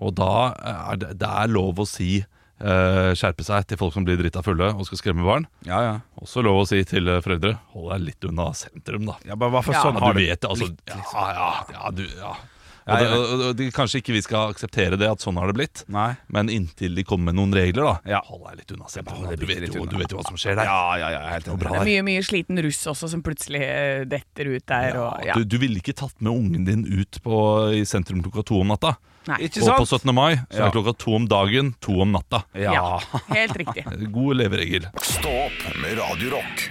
Speaker 8: Og da eh, er det, det er lov å si eh, skjerpe seg til folk som blir drita fulle og skal skremme barn.
Speaker 6: Ja, ja.
Speaker 8: Også lov å si til eh, foreldre hold deg litt unna sentrum, da.
Speaker 6: ja bare, hva for sånn
Speaker 8: Ja,
Speaker 6: har
Speaker 8: du
Speaker 6: det
Speaker 8: vet det, altså. Ja, ja, ja, du, ja. Og,
Speaker 6: Nei,
Speaker 8: det, og, og det, Kanskje ikke vi skal akseptere det, at sånn har det blitt.
Speaker 6: Nei.
Speaker 8: Men inntil de kommer med noen regler, da.
Speaker 6: Ja.
Speaker 8: Hold deg litt unna. Seb.
Speaker 6: Hold deg
Speaker 8: Du, vet
Speaker 6: litt
Speaker 8: jo,
Speaker 6: unna.
Speaker 8: du vet jo hva som skjer der.
Speaker 6: Ja, ja, ja, jeg er helt enig.
Speaker 8: Bra
Speaker 7: Det er
Speaker 8: der.
Speaker 7: mye, mye sliten russ også som plutselig eh, detter ut der. Og, ja.
Speaker 8: Du, du ville ikke tatt med ungen din ut på, i sentrum klokka to om natta.
Speaker 7: Nei.
Speaker 6: Ikke
Speaker 8: Og på
Speaker 6: sant?
Speaker 8: 17. mai så
Speaker 6: Ja.
Speaker 8: er klokka to om dagen, to om natta.
Speaker 7: Ja, helt riktig.
Speaker 8: God leveregel.
Speaker 5: Stå opp med Radio Rock.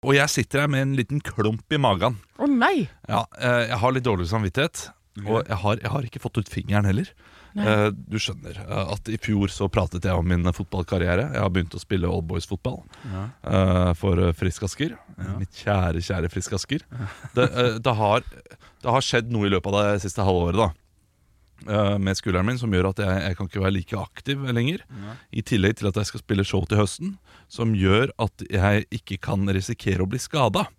Speaker 8: Og jeg sitter her med en liten klump i magen.
Speaker 7: Å nei!
Speaker 8: Ja, eh, jeg har litt dårlig samvittighet. Og jeg har, jeg har ikke fått ut fingeren heller. Eh, Du skjønner eh, at i fjor så pratet jeg om min fotballkarriere. Jeg har begynt å spille Old Boys fotball eh, for eh, Frisk Asker. Mitt kjære, kjære Frisk Asker. Det, eh, det, har, det har skjedd noe i løpet av det siste halvåret, da. eh, Med skulderen min, som gjør at jeg, jeg kan ikke være like aktiv lenger. I tillegg til at jeg skal spille show til høsten, som gjør at jeg ikke kan risikere å bli skada. Ja,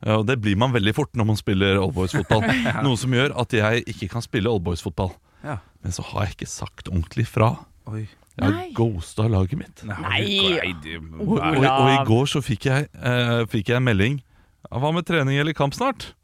Speaker 8: Eh, Og det blir man veldig fort når man spiller oldboys-fotball. Noe som gjør at jeg ikke kan spille oldboys-fotball.
Speaker 6: Ja.
Speaker 8: Men så har jeg ikke sagt ordentlig fra.
Speaker 6: Oi.
Speaker 8: Jeg har
Speaker 7: Nei.
Speaker 8: ghosta laget mitt.
Speaker 7: Nei.
Speaker 6: du-
Speaker 8: Og, og, og i går så fikk jeg, eh, fikk jeg en melding. Ja, Hva med trening eller kamp snart?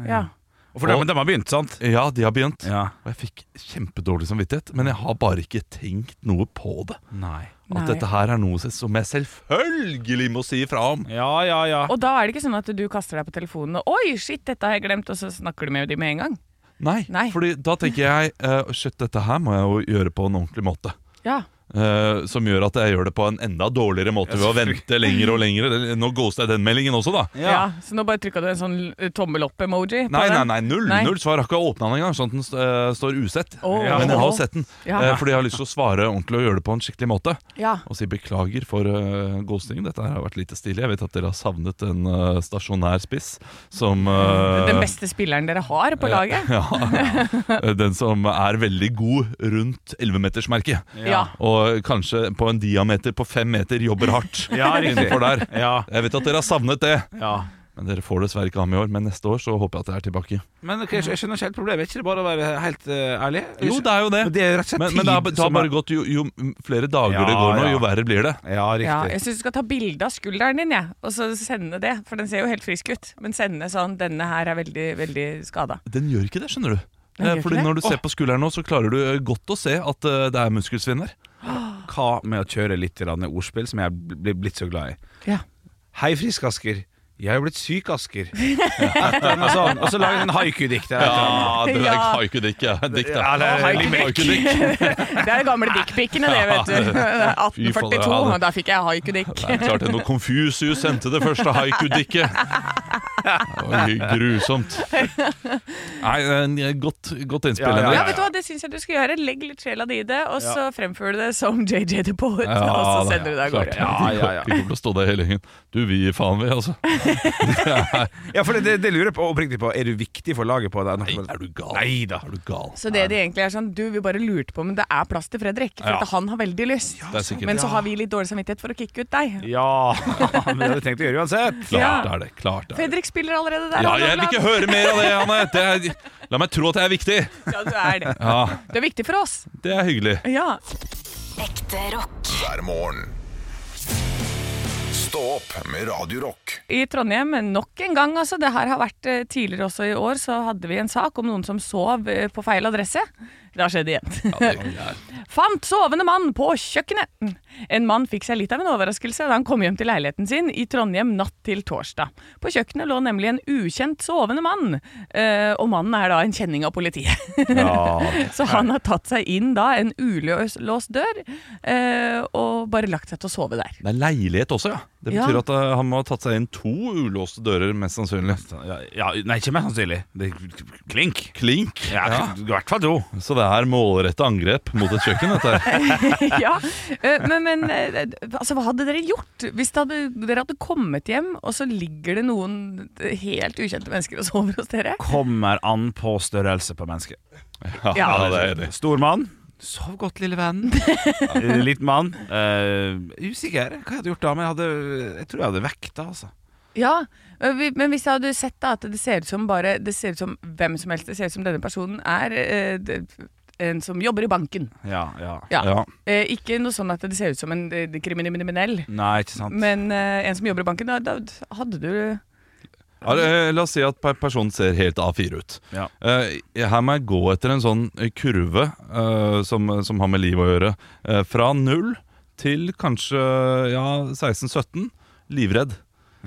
Speaker 7: Ja.
Speaker 6: For dem, dem har begynt, sant?
Speaker 8: Ja, de har begynt.
Speaker 6: Ja.
Speaker 8: Og jeg fikk kjempedårlig samvittighet, men jeg har bare ikke tenkt noe på det.
Speaker 6: Nei.
Speaker 8: At
Speaker 7: Nei.
Speaker 8: dette her er noe som jeg selvfølgelig må si ifra om.
Speaker 6: Ja, ja, ja.
Speaker 7: Og da er det ikke sånn at du kaster deg på telefonen og 'oi, shit, dette har jeg glemt', og så snakker du med dem med en gang.
Speaker 8: Nei,
Speaker 7: Nei.
Speaker 8: fordi da tenker jeg eh, Shit, dette her må jeg jo gjøre på en ordentlig måte.
Speaker 7: Ja.
Speaker 8: Eh, som gjør at jeg gjør det på en enda dårligere måte ved å vente lenger og lenger. Nå ghoster jeg den meldingen også, da.
Speaker 7: Ja. Så nå bare trykka du en sånn eh, tommel opp-emoji? på
Speaker 8: Nei, nei,
Speaker 7: den.
Speaker 8: nei, null,
Speaker 7: Nei.
Speaker 8: null svar. Jeg har ikke åpna den engang, sånn at den eh, står usett.
Speaker 7: Åh.
Speaker 8: Men jeg har jo sett den,
Speaker 7: Ja.
Speaker 8: eh, fordi jeg har lyst til å svare ordentlig og gjøre det på en skikkelig måte.
Speaker 7: Ja.
Speaker 8: Og si beklager for uh, ghostingen. Dette her har vært lite stilig. Jeg vet at dere har savnet en eh, stasjonær spiss som eh,
Speaker 7: Den beste spilleren dere har på laget?
Speaker 8: Ja, ja. Den som er veldig god rundt 11-metersmerket.
Speaker 7: Ja.
Speaker 8: Og kanskje på en diameter på fem meter jobber hardt
Speaker 6: Ja, riktig.
Speaker 8: innenfor der.
Speaker 6: Ja.
Speaker 8: Jeg vet at dere har savnet det,
Speaker 6: ja.
Speaker 8: men dere får dessverre ikke ha med i år. Men neste år så håper jeg at jeg er tilbake.
Speaker 6: Men ok, jeg skj- jeg skjønner ikke helt problemet. Er ikke det bare å være helt eh, ærlig?
Speaker 8: Jo, det er jo det.
Speaker 6: Men det er rett og slett
Speaker 8: Men, men det, har,
Speaker 6: tid
Speaker 8: det har
Speaker 6: som er-
Speaker 8: bare gått jo, jo flere dager
Speaker 6: Ja,
Speaker 8: det går nå,
Speaker 6: ja.
Speaker 8: jo verre blir det.
Speaker 6: Ja,
Speaker 7: Ja,
Speaker 6: riktig.
Speaker 7: jeg syns du skal ta bilde av skulderen din, jeg, og så sende det. For den ser jo helt frisk ut. Men sende sånn 'denne her er veldig, veldig skada'.
Speaker 8: Den gjør ikke det, skjønner du.
Speaker 7: Den
Speaker 8: Eh,
Speaker 7: gjør
Speaker 8: Fordi
Speaker 7: ikke det?
Speaker 8: Når du ser på skulderen nå, så klarer du eh, godt å se at eh, det er muskelsvinn der.
Speaker 6: Hva med å kjøre litt grann ordspill som jeg bl- blir blitt så glad i?
Speaker 7: Ja.
Speaker 6: Hei, frisk Asker. Jeg er blitt syk, Asker. Etter noe sånt. Og så lager jeg en haiku-dikt. eller et eller annet.
Speaker 8: Ja, det er
Speaker 7: Ja.
Speaker 8: haikudikk, ja. Dikt,
Speaker 6: Ja, det er
Speaker 8: Haiku- haikudikk.
Speaker 7: Det er de gamle dickpicene, det, vet du.
Speaker 8: Fy faen, ja,
Speaker 7: 1842,
Speaker 8: det-
Speaker 7: og da fikk jeg haikudick.
Speaker 8: Det er klart det når Confucius sendte det første haikudikket. Det var grusomt. Nei, eh, godt, godt innspill,
Speaker 6: Ja, ja,
Speaker 8: Henrik.
Speaker 7: Ja, vet du hva, det syns jeg du skal gjøre. Legg litt sjela di i det, og så fremfører du det som JJ The Poet, og så
Speaker 8: da,
Speaker 7: sender du det av
Speaker 8: klart.
Speaker 7: gårde.
Speaker 8: Ja, ja, ja. Vi kommer til å stå der hele gjengen. Du, vi gir faen, vi, altså.
Speaker 6: Ja, for det, det, det lurer jeg på, oppriktig på. Er du viktig for laget på det?
Speaker 8: Nei, er du gal?
Speaker 6: Nei da.
Speaker 8: Er du gal?
Speaker 7: Så det de egentlig er sånn Du, vi bare lurte på om det er plass til Fredrik, for
Speaker 8: Ja.
Speaker 7: at han har veldig lyst.
Speaker 8: det er sikkert.
Speaker 7: Men så har vi litt dårlig samvittighet for å kicke ut deg.
Speaker 6: Ja, men det hadde jeg tenkt å gjøre uansett.
Speaker 8: Klart
Speaker 7: Ja.
Speaker 8: er det. klart er det.
Speaker 7: Fredrik spiller allerede der.
Speaker 8: Ja,
Speaker 7: han
Speaker 8: jeg vil
Speaker 7: overlatt.
Speaker 8: ikke høre mer av det, Anne. Det er, la meg tro at jeg er viktig.
Speaker 7: Ja, du er det.
Speaker 8: Ja,
Speaker 7: Du er viktig for oss.
Speaker 8: Det er hyggelig.
Speaker 7: Ja.
Speaker 1: Ekte rock.
Speaker 5: hver morgen. Stå opp med Radio Rock.
Speaker 7: I Trondheim, nok en gang, altså. Det her har vært eh, tidligere også i år, så hadde vi en sak om noen som sov eh, på feil adresse. Det har skjedd igjen. Fant sovende mann på kjøkkenet. En mann fikk seg litt av en overraskelse da han kom hjem til leiligheten sin i Trondheim natt til torsdag. På kjøkkenet lå nemlig en ukjent sovende mann, eh, og mannen er da en kjenning av politiet. Så han har tatt seg inn da en ulåst dør, eh, og bare lagt seg til å sove der.
Speaker 8: Det er leilighet også, ja. Det
Speaker 7: Ja.
Speaker 8: betyr at eh, han må ha tatt seg inn to ulåste dører, mest sannsynlig.
Speaker 6: Ja, ja, nei, ikke mer sannsynlig. Det, klink.
Speaker 8: Klink.
Speaker 6: Ja, I hvert fall to.
Speaker 8: Så det er målrette angrep mot et kjøkken, dette her.
Speaker 7: ja, eh, men, men eh, altså, hva hadde dere gjort hvis det hadde, dere hadde kommet hjem, og så ligger det noen helt ukjente mennesker og sover hos dere?
Speaker 6: Kommer an på størrelse på mennesket.
Speaker 7: Ja, det er
Speaker 8: det.
Speaker 6: Stor mann. Sov godt, lille venn. Eh, Litt mann. Eh, usikker. Hva jeg hadde gjort da? Men jeg, hadde, jeg tror jeg hadde vekta, altså.
Speaker 7: Ja, eh, vi- men hvis jeg hadde sett da, at det ser ut som bare Det ser ut som hvem som helst, det ser ut som denne personen er eh, det- en som jobber i banken.
Speaker 6: Ja, ja.
Speaker 7: Ja. Eh, ikke noe sånn at det ser ut som en eh, kriminell,
Speaker 6: Nei, ikke sant.
Speaker 7: men eh, en som jobber i banken. Da, da hadde du
Speaker 8: Ja, eh, La oss si at per- personen ser helt A4 ut.
Speaker 6: Ja.
Speaker 8: Eh, Her må jeg gå etter en sånn kurve eh, som, som har med liv å gjøre. Eh, Fra null til kanskje ja, 16-17. Livredd.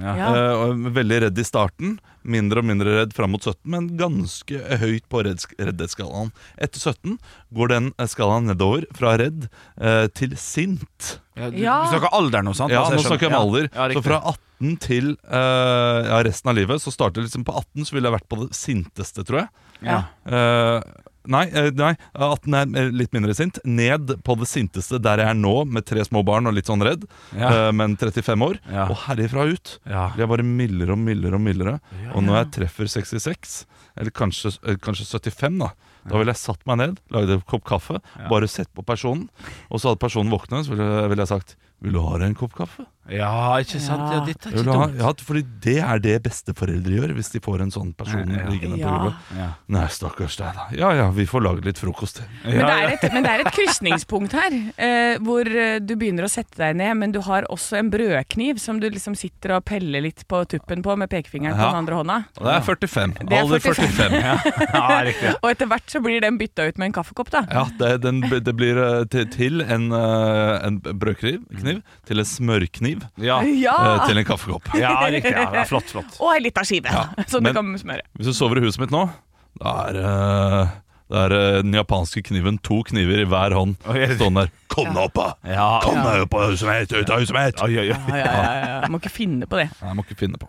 Speaker 6: Ja.
Speaker 8: Eh, og veldig redd i starten, mindre og mindre redd fram mot 17, men ganske høyt på redds- reddhetsskalaen. Etter 17 går den eh, skalaen nedover, fra redd eh, til sint.
Speaker 6: Ja, du- du Ja. snakker alder nå, sant?
Speaker 8: Ja, nå
Speaker 6: Altså, jeg skjønner.
Speaker 8: snakker jeg om
Speaker 6: Ja.
Speaker 8: alder.
Speaker 6: Ja, riktig.
Speaker 8: så fra 18 til eh, ja, resten av livet, så starter det liksom på 18, så ville jeg vært på det sinteste, tror jeg.
Speaker 6: Ja.
Speaker 8: Eh, nei, eh, nei, 18 er eh, litt mindre sint. Ned på det sinteste der jeg er nå, med tre små barn og litt sånn redd,
Speaker 6: Ja.
Speaker 8: eh, men 35 år. Og herifra ut blir jeg Ah. bare mildere og mildere og mildere. Og når jeg treffer 66, eller kanskje, eh, kanskje 75, da da ville jeg satt meg ned, lagd en kopp kaffe, bare sett på personen. Og så hadde personen våknet, så ville, ville jeg sagt Vil du ha deg en kopp kaffe?
Speaker 6: Ja, ikke sant? Ja, dette er
Speaker 8: Jeg
Speaker 6: ikke
Speaker 8: vil ha,
Speaker 6: dumt.
Speaker 8: ja, fordi det er det besteforeldre gjør hvis de får en sånn person
Speaker 6: Ja, ja.
Speaker 8: liggende på
Speaker 7: Ja.
Speaker 8: gulvet.
Speaker 6: Ja.
Speaker 8: Nei, stakkars deg, da. Ja ja, vi får lage litt frokost.
Speaker 7: Men, det er et, men det er et krysningspunkt her, eh, hvor eh, du begynner å sette deg ned, men du har også en brødkniv som du liksom sitter og peller litt på tuppen på med pekefingeren på
Speaker 8: Ja.
Speaker 7: den andre hånda.
Speaker 8: Og det er 45.
Speaker 7: Det er
Speaker 8: Alder
Speaker 7: 45.
Speaker 8: 45. Ja, riktig.
Speaker 7: Og etter hvert så blir den bytta ut med en kaffekopp, da.
Speaker 8: Ja, det, den, det blir eh, til, til en, eh, en brødkniv, kniv, til en smørkniv,
Speaker 7: Ja. Ja.
Speaker 8: eh, til en kaffekopp.
Speaker 7: Ja, riktig, ja, ja, flott, Og ei lita skive, som
Speaker 8: men-
Speaker 7: du kan smøre.
Speaker 8: Hvis du sover i huset mitt nå, da er eh, da er eh, den japanske kniven to kniver i hver hånd stående der. Kom deg opp, da! Kom deg opp av huset mitt! Ut av huset mitt!
Speaker 7: Ja, ja, ja, ja. Må ikke finne på det.
Speaker 8: Nei, Jeg må ikke finne på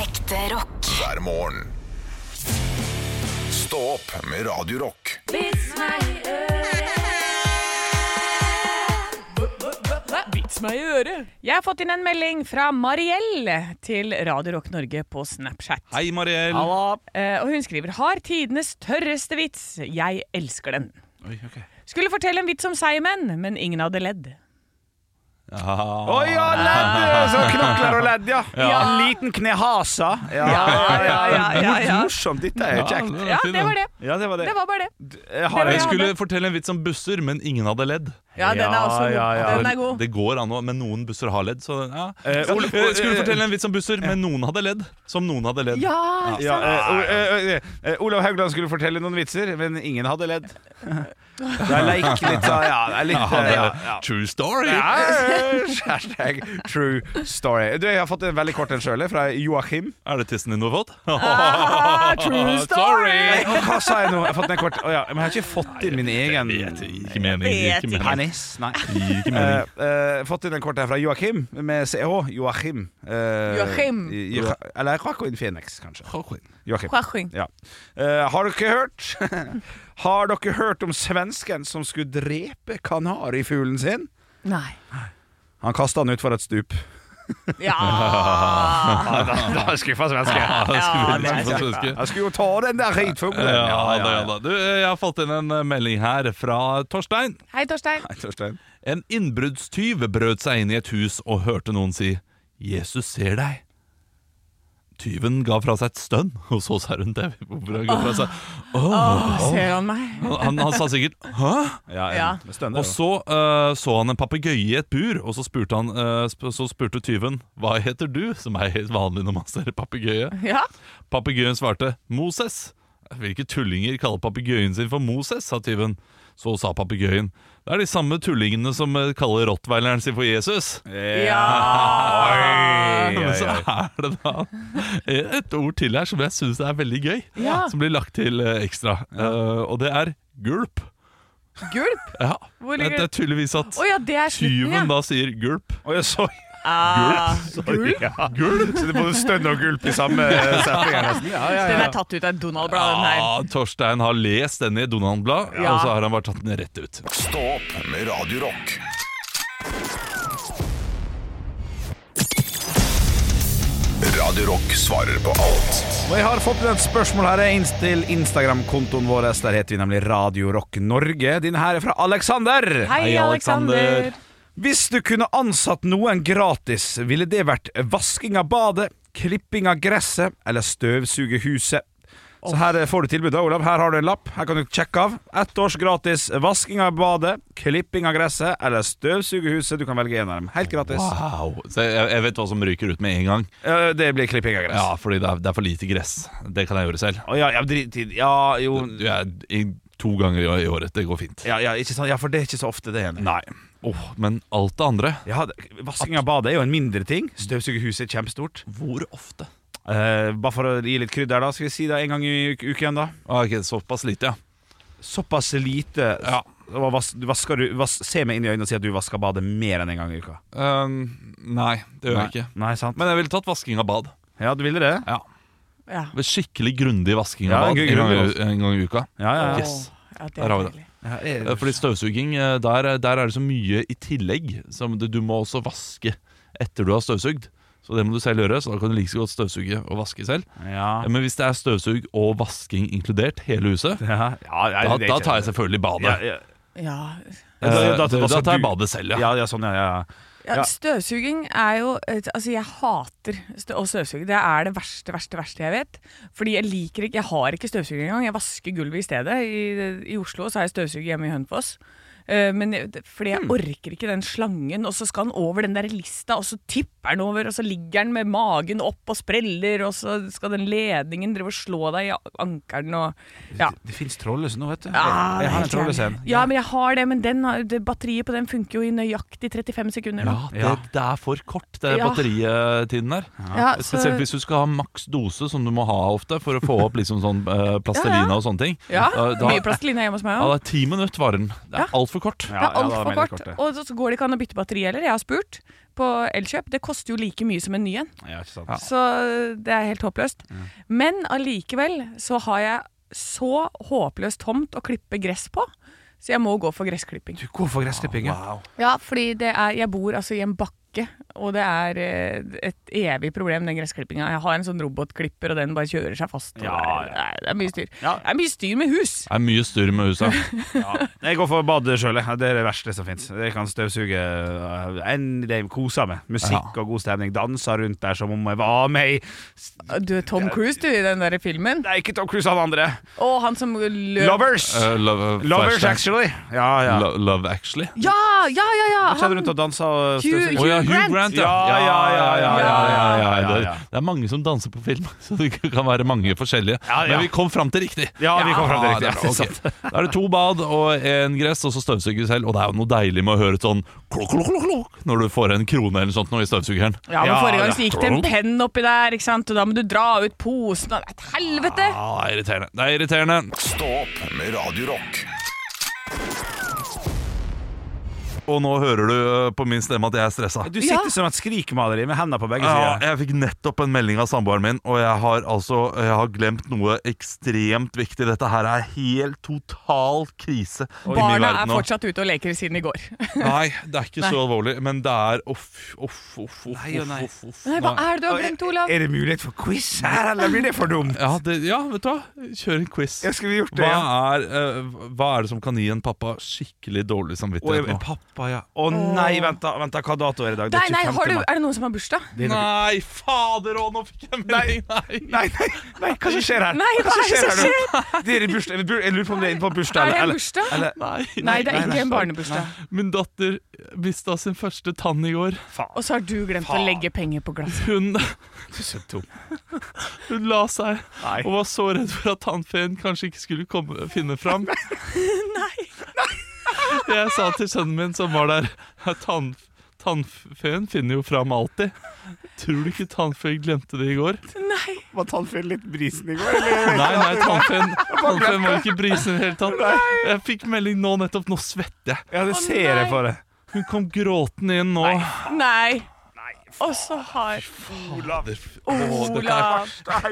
Speaker 5: Ekte rock. Hver morgen. Stå opp med Radio Rock.
Speaker 9: Vits meg i
Speaker 7: Vits meg i øret. Jeg har fått inn en melding fra Mariell til Radio Rock Norge på Snapchat.
Speaker 8: Hei, Mariell.
Speaker 7: Eh, og hun skriver 'Har tidenes tørreste vits. Jeg elsker den'.
Speaker 8: Oi, ok.
Speaker 7: Skulle fortelle en vits om seigmenn, men ingen hadde ledd.
Speaker 6: Å ja, ledd! Så knokler og ledd, ja.
Speaker 8: Ja.
Speaker 6: En liten knehasa. Ja, Morsomt. Dette er
Speaker 8: Ja,
Speaker 6: kjekt.
Speaker 8: den er fin, den.
Speaker 6: Ja, det var det.
Speaker 7: bare det.
Speaker 6: Jeg har
Speaker 8: jeg
Speaker 6: en-
Speaker 8: skulle fortelle en vits om busser, men ingen hadde ledd.
Speaker 6: Ja, den er også god. Ja, ja, ja. Den er
Speaker 7: god.
Speaker 8: Det går an, å- men noen busser har ledd. Så, ja.
Speaker 6: Eh,
Speaker 8: Så,
Speaker 6: Ole-
Speaker 8: eh, skulle fortelle en vits om busser, men noen hadde ledd. Som noen hadde ledd.
Speaker 7: Ja,
Speaker 6: Ja, eh, o- eh, eh, eh, Olav Haugland skulle fortelle noen vitser, men ingen hadde ledd. Det er leik litt, da. Ja, det er litt
Speaker 8: Ja, det er
Speaker 6: eh, ja, ja.
Speaker 8: True story.
Speaker 6: Ja, hashtag true story. Du, jeg har fått en veldig kort en sjøl, eh, fra Joakim.
Speaker 8: Er det tissen din du har fått?
Speaker 9: Ah, true story.
Speaker 6: Nei, Hva sa jeg nå? Jeg har fått den en kort. Å ja, men jeg har ikke fått inn min egen Ikke
Speaker 8: mening, gir ikke mening.
Speaker 6: Hennes, nei.
Speaker 8: ikke mening.
Speaker 6: Eh, eh, fått inn en kort her fra Joakim med CH. Joakim. Eh,
Speaker 7: Joachim.
Speaker 6: Jo- Eller Joaquin Phoenix, kanskje. Joakim.
Speaker 7: Joaquin.
Speaker 6: Ja. Eh, har dere hørt Har dere hørt om svensken som skulle drepe kanarifuglen sin?
Speaker 7: Nei.
Speaker 6: Han kasta den utfor et stup.
Speaker 7: Ja.
Speaker 6: da, da er jeg skuffa svenske.
Speaker 8: Ja, det er skuffa
Speaker 6: Ja, det er-
Speaker 8: svenske.
Speaker 6: Jeg skulle jo ta den der ritfuglen.
Speaker 8: Ja, da, ja, da. Du, jeg har fått inn en eh, melding her fra Torstein.
Speaker 7: Hei, Torstein.
Speaker 8: En innbruddstyv brøt seg inn i et hus og hørte noen si 'Jesus ser deg'. Tyven ga fra seg et stønn, og så sa hun det. Hvorfor han ga fra seg «Åh,
Speaker 7: Åh,
Speaker 8: åh».
Speaker 7: ser han meg?
Speaker 8: Han, han, han sa sikkert 'hæ?'
Speaker 7: Ja. med
Speaker 6: stønn
Speaker 8: og så eh, så han en papegøye i et bur, og så spurte, han, eh, sp så spurte tyven 'hva heter du?' som er helt vanlig når man ser en papegøye.
Speaker 7: Ja.
Speaker 8: Papegøyen svarte 'Moses'. Hvilke tullinger kaller papegøyen sin for Moses? sa tyven. Så sa papegøyen 'Det er de samme tullingene som eh, kaller rottweileren sin for Jesus'.
Speaker 9: Ja. Oi, oi, oi.
Speaker 8: Men så er det da et ord til her som jeg syns er veldig gøy,
Speaker 7: Ja.
Speaker 8: som blir lagt til eh, ekstra. Eh, og det er gulp.
Speaker 7: Gulp?
Speaker 8: Ja.
Speaker 7: Hvor
Speaker 8: Det
Speaker 7: ligger
Speaker 8: det er tydeligvis at
Speaker 7: Å ja, det er slutten,
Speaker 8: tyven
Speaker 7: ja.
Speaker 8: da sier gulp.
Speaker 6: Oh, ja, så,
Speaker 7: Ah,
Speaker 6: Sorry, ja. Gulp? Så det både stønne og gulp i samme setning. her nesten. Ja, ja,
Speaker 7: Den
Speaker 6: ja.
Speaker 7: er tatt ut av et Donald-blad. den her.
Speaker 8: Ja, Ah, Torstein har lest den i Donald-blad,
Speaker 7: Ja.
Speaker 8: og så har han bare tatt den rett ut.
Speaker 5: Stå opp med Radio Rock. Radio Rock svarer på alt.
Speaker 6: Og jeg har fått inn et spørsmål her inn til Instagram-kontoen vår. Der heter vi nemlig Radio Rock Norge. Denne her er fra Alexander.
Speaker 9: Hei, Hei, Alexander. Alexander.
Speaker 6: Hvis du kunne ansatt noen gratis, ville det vært vasking av badet, klipping av gresset eller støvsuge huset? Så her får du tilbud, da, Olav. Her har du en lapp. Her kan du sjekke av. Ett års gratis vasking av badet, klipping av gresset eller støvsuge huset. Du kan velge en av dem. Helt gratis. Eh,
Speaker 8: Wow. Så jeg, jeg vet hva som ryker ut med en gang.
Speaker 6: Det blir klipping av gress.
Speaker 8: Ja, fordi det er, det er for lite gress. Det kan jeg gjøre selv.
Speaker 6: Å, ja, ja, drit i Ja, jo
Speaker 8: Du er i, to ganger i, i året. Det går fint.
Speaker 6: Ja, ja, ikke sant? ja, for det er ikke så ofte det hender.
Speaker 8: Nei. Åh, men alt det andre
Speaker 6: Ja, det- Vasking av badet er jo en mindre ting. Støvsugerhuset er kjempestort.
Speaker 8: Hvor ofte?
Speaker 6: Eh, bare for å gi litt krydder, da. Skal vi si det en gang i uke- uken, da?
Speaker 8: Ah, ok, Såpass lite, ja.
Speaker 6: Såpass lite. Ja. Vas, du vasker, du, vas, se meg inn i øynene og si at du vasker badet mer enn en gang i uka.
Speaker 8: Ehm, nei, det gjør jeg
Speaker 6: Nei.
Speaker 8: ikke.
Speaker 6: Nei, sant
Speaker 8: Men jeg ville tatt vasking av bad.
Speaker 6: Ja, du ville det?
Speaker 8: Ja.
Speaker 7: Ja.
Speaker 8: Skikkelig grundig vasking
Speaker 6: Ja,
Speaker 8: av bad
Speaker 6: gru-
Speaker 8: en gang,
Speaker 6: grundig
Speaker 8: i- en gang i uka.
Speaker 6: Ja, ja, ja.
Speaker 8: Yes.
Speaker 7: Ja, det er
Speaker 8: Der har vi det.
Speaker 7: deilig.
Speaker 6: Ja, det er-
Speaker 8: Eh, Fordi støvsuging, eh, der, der er det så mye i tillegg. Som du, du må også vaske etter du har støvsugd. Så det må du selv gjøre, så da kan du like så godt støvsuge og vaske selv.
Speaker 6: Ja.
Speaker 8: Eh, Men hvis det er støvsug og vasking inkludert, hele huset,
Speaker 6: Ja, ja,
Speaker 8: da,
Speaker 6: det er
Speaker 8: da
Speaker 6: ikke-
Speaker 8: tar jeg selvfølgelig badet.
Speaker 6: Ja, ja.
Speaker 7: Ja.
Speaker 8: Eh,
Speaker 6: Da- da-
Speaker 8: da,
Speaker 6: da skal
Speaker 8: tar jeg
Speaker 6: du-
Speaker 8: badet selv,
Speaker 6: Ja, ja, sånn, ja, ja. ja.
Speaker 7: Ja, støvsuging er jo et- Altså, jeg hater stø å støvsuge. Det er det verste, verste, verste jeg vet. Fordi jeg liker ikke Jeg har ikke støvsuger engang. Jeg vasker gulvet i stedet. I, i Oslo så har jeg støvsuger hjemme i Hønefoss. Eh, Men jeg- det- fordi
Speaker 6: Hmm.
Speaker 7: jeg orker ikke den slangen, og så skal den over den der lista, og så tipper den over, og så ligger den med magen opp og spreller, og så skal den ledningen drive og slå deg i ankelen og Ja.
Speaker 6: Det fins trollesen nå, vet du.
Speaker 7: Ja,
Speaker 6: jeg, jeg har en
Speaker 7: helt jævlig.
Speaker 6: trollesen.
Speaker 7: Ja, men jeg har det, men den, har- det, batteriet på den funker jo i nøyaktig 35 sekunder. nå.
Speaker 8: Ja, det, det er for kort, det
Speaker 7: Ja.
Speaker 8: batteritiden der. Eh,
Speaker 7: Ja, så-
Speaker 8: Spesielt hvis du skal ha maks dose, som du må ha ofte for å få opp liksom sånn eh, plastelina og sånne ting.
Speaker 7: Ja,
Speaker 8: Eh, da-
Speaker 7: mye plastelina hjemme hos meg
Speaker 8: Ja,
Speaker 7: òg.
Speaker 8: det er ti minutter varer den. Det
Speaker 7: Ja.
Speaker 8: er altfor kort.
Speaker 7: Det er altfor kort. Og så- så går det ikke an å bytte batteri heller. Jeg har spurt på Elkjøp. Det koster jo like mye som en ny en.
Speaker 6: Ja, ikke sant.
Speaker 7: Så det er helt håpløst. Men allikevel så har jeg så håpløst tomt å klippe gress på, så jeg må gå for gressklipping.
Speaker 6: Du går for gressklipping, ja.
Speaker 7: Ja, fordi det er, jeg bor altså i en bakke, og det er eh, et evig problem, den gressklippinga. Jeg har en sånn robotklipper, og den bare kjører seg fast. Og det, er, det er mye styr. Det er mye styr med hus!
Speaker 8: Det er mye styr med huset.
Speaker 6: Jeg går for badet sjøl. Det er det verste som fins. Jeg kan støvsuge eh, any day, kose meg. Musikk og god stemning. Danse rundt der som om jeg var med i
Speaker 7: Du er Tom Cruise, du, i den der filmen.
Speaker 6: Det er ikke Tom Cruise, han andre.
Speaker 7: Og han som løp
Speaker 6: Lovers!
Speaker 8: Eh, love,
Speaker 6: Lovers,
Speaker 8: Flashback.
Speaker 6: actually. Ja, ja.
Speaker 8: Lo- love Actually.
Speaker 7: Ja, ja, ja! ja.
Speaker 6: Han kjenner rundt og danser og
Speaker 7: Hugh-
Speaker 8: Å ja,
Speaker 6: støvsuger.
Speaker 8: Hugh Grant, ja.
Speaker 6: Ja, ja, ja, ja, ja, ja, ja,
Speaker 8: Det,
Speaker 6: ja.
Speaker 8: er- det er mange som danser på film, så det kan være mange forskjellige.
Speaker 6: Ja, ja.
Speaker 8: Men vi kom fram til riktig.
Speaker 6: Ja, vi kom fram til
Speaker 8: Ja,
Speaker 6: riktig.
Speaker 8: det er sant. Da er det to bad og en gress, og så støvsuger vi selv. Og det er jo noe deilig med å høre et sånn klok, klok, klok, klok, når du får en krone eller sånt nå i støvsugeren.
Speaker 7: Ja, men Forrige gang
Speaker 8: ja.
Speaker 7: så gikk det en penn oppi der, ikke sant? og da må du dra ut posen og Et helvete!
Speaker 8: Ja, det er irriterende. Det er irriterende.
Speaker 5: Stå opp med Radio Rock.
Speaker 8: Og nå hører du eh, på min stemme at jeg er stressa.
Speaker 6: Du sitter som et skrikmaleri med hendene på begge
Speaker 8: Ja,
Speaker 6: sider.
Speaker 8: jeg fikk nettopp en melding av samboeren min, og jeg har altså jeg har glemt noe ekstremt viktig. Dette her er helt total krise i min
Speaker 7: Barna er
Speaker 8: verden nå.
Speaker 7: fortsatt ute og leker siden i går.
Speaker 8: Nei, det er ikke
Speaker 7: Nei.
Speaker 8: så alvorlig, men det er uff, uff, uff, uff,
Speaker 6: Nei og nei.
Speaker 8: uff, uff, uff.
Speaker 7: Nei, hva er det du har glemt, Olav?
Speaker 6: Er det mulighet for quiz her, eller blir det for dumt?
Speaker 8: Ja, det, ja, vet du hva? Kjør en quiz.
Speaker 6: Jeg skulle gjort det,
Speaker 8: Hva
Speaker 6: ja.
Speaker 8: er, eh, hva er det som kan gi en pappa skikkelig dårlig
Speaker 6: Å, jeg-
Speaker 8: samvittighet nå?
Speaker 6: pappa, ja. Å nei, vent da, vent da, hva dato er det i dag? Det
Speaker 7: Nei,
Speaker 6: er
Speaker 7: nei,
Speaker 6: 25.
Speaker 7: har du,
Speaker 6: mai.
Speaker 7: er det noen som har bursdag?
Speaker 6: Det er nok-
Speaker 8: Nei, fader òg, nå fikk jeg en melding! Nei.
Speaker 6: Nei, nei, nei, hva som skjer her?
Speaker 7: Nei, hva er det som
Speaker 6: her nå? Det er i bursdag, jeg bur- jeg lurer på om det er inne på bursdag.
Speaker 7: Er det en
Speaker 6: eller- eller-
Speaker 7: bursdag?
Speaker 6: eller-
Speaker 8: Nei,
Speaker 7: Nei, det er
Speaker 6: nei,
Speaker 7: ikke en
Speaker 6: nei.
Speaker 7: barnebursdag.
Speaker 8: Min datter mista sin første tann i går.
Speaker 7: Og så har du glemt å legge penger på glasset.
Speaker 8: Hun
Speaker 6: Du er så dum.
Speaker 8: Hun la seg
Speaker 6: Nei.
Speaker 8: og var så redd for at tannfeen kanskje ikke skulle komme, finne fram. Jeg sa til sønnen min som var der at tann, Tannfeen finner jo fram alltid. Tror du ikke tannfeen glemte det i går?
Speaker 7: Nei.
Speaker 6: Var tannfeen litt brisen i går? Eller?
Speaker 8: Nei, nei, tannfeen, tannfeen var ikke brisen i det hele tatt. Jeg fikk melding nå nettopp. Nå svetter jeg.
Speaker 6: Ja, det ser jeg for det.
Speaker 8: Hun kom gråtende inn nå.
Speaker 7: Nei. Og så har
Speaker 6: Olav.
Speaker 7: Olav.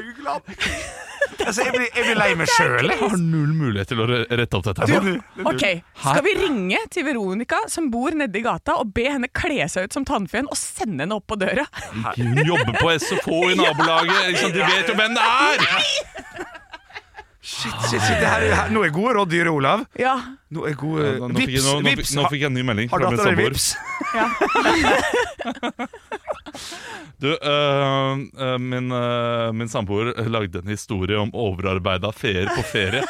Speaker 6: Altså, jeg blir, jeg blir lei meg sjøl.
Speaker 8: Jeg har null mulighet til å re- rette opp dette. her nå.
Speaker 7: Ok, Skal vi ringe til Veronica, som bor nedi gata, og be henne kle seg ut som tannfeen og sende henne opp på døra?
Speaker 8: Hun jobber på SFO i nabolaget. Ikke sant? de vet jo hvem det er!
Speaker 6: Shit, shit, shit. Det her, er- her, nå er gode råd dyre, Olav.
Speaker 7: Ja.
Speaker 6: Nå er gode
Speaker 8: Ja, nå, nå fikk jeg, nå, nå, fikk- nå fikk jeg en sånn ny melding
Speaker 6: Eh, Har du
Speaker 8: fra min
Speaker 6: hatt det
Speaker 8: samboer.
Speaker 6: vips?
Speaker 8: Du, øh, øh, min, øh, min samboer lagde en historie om overarbeida feer på ferie.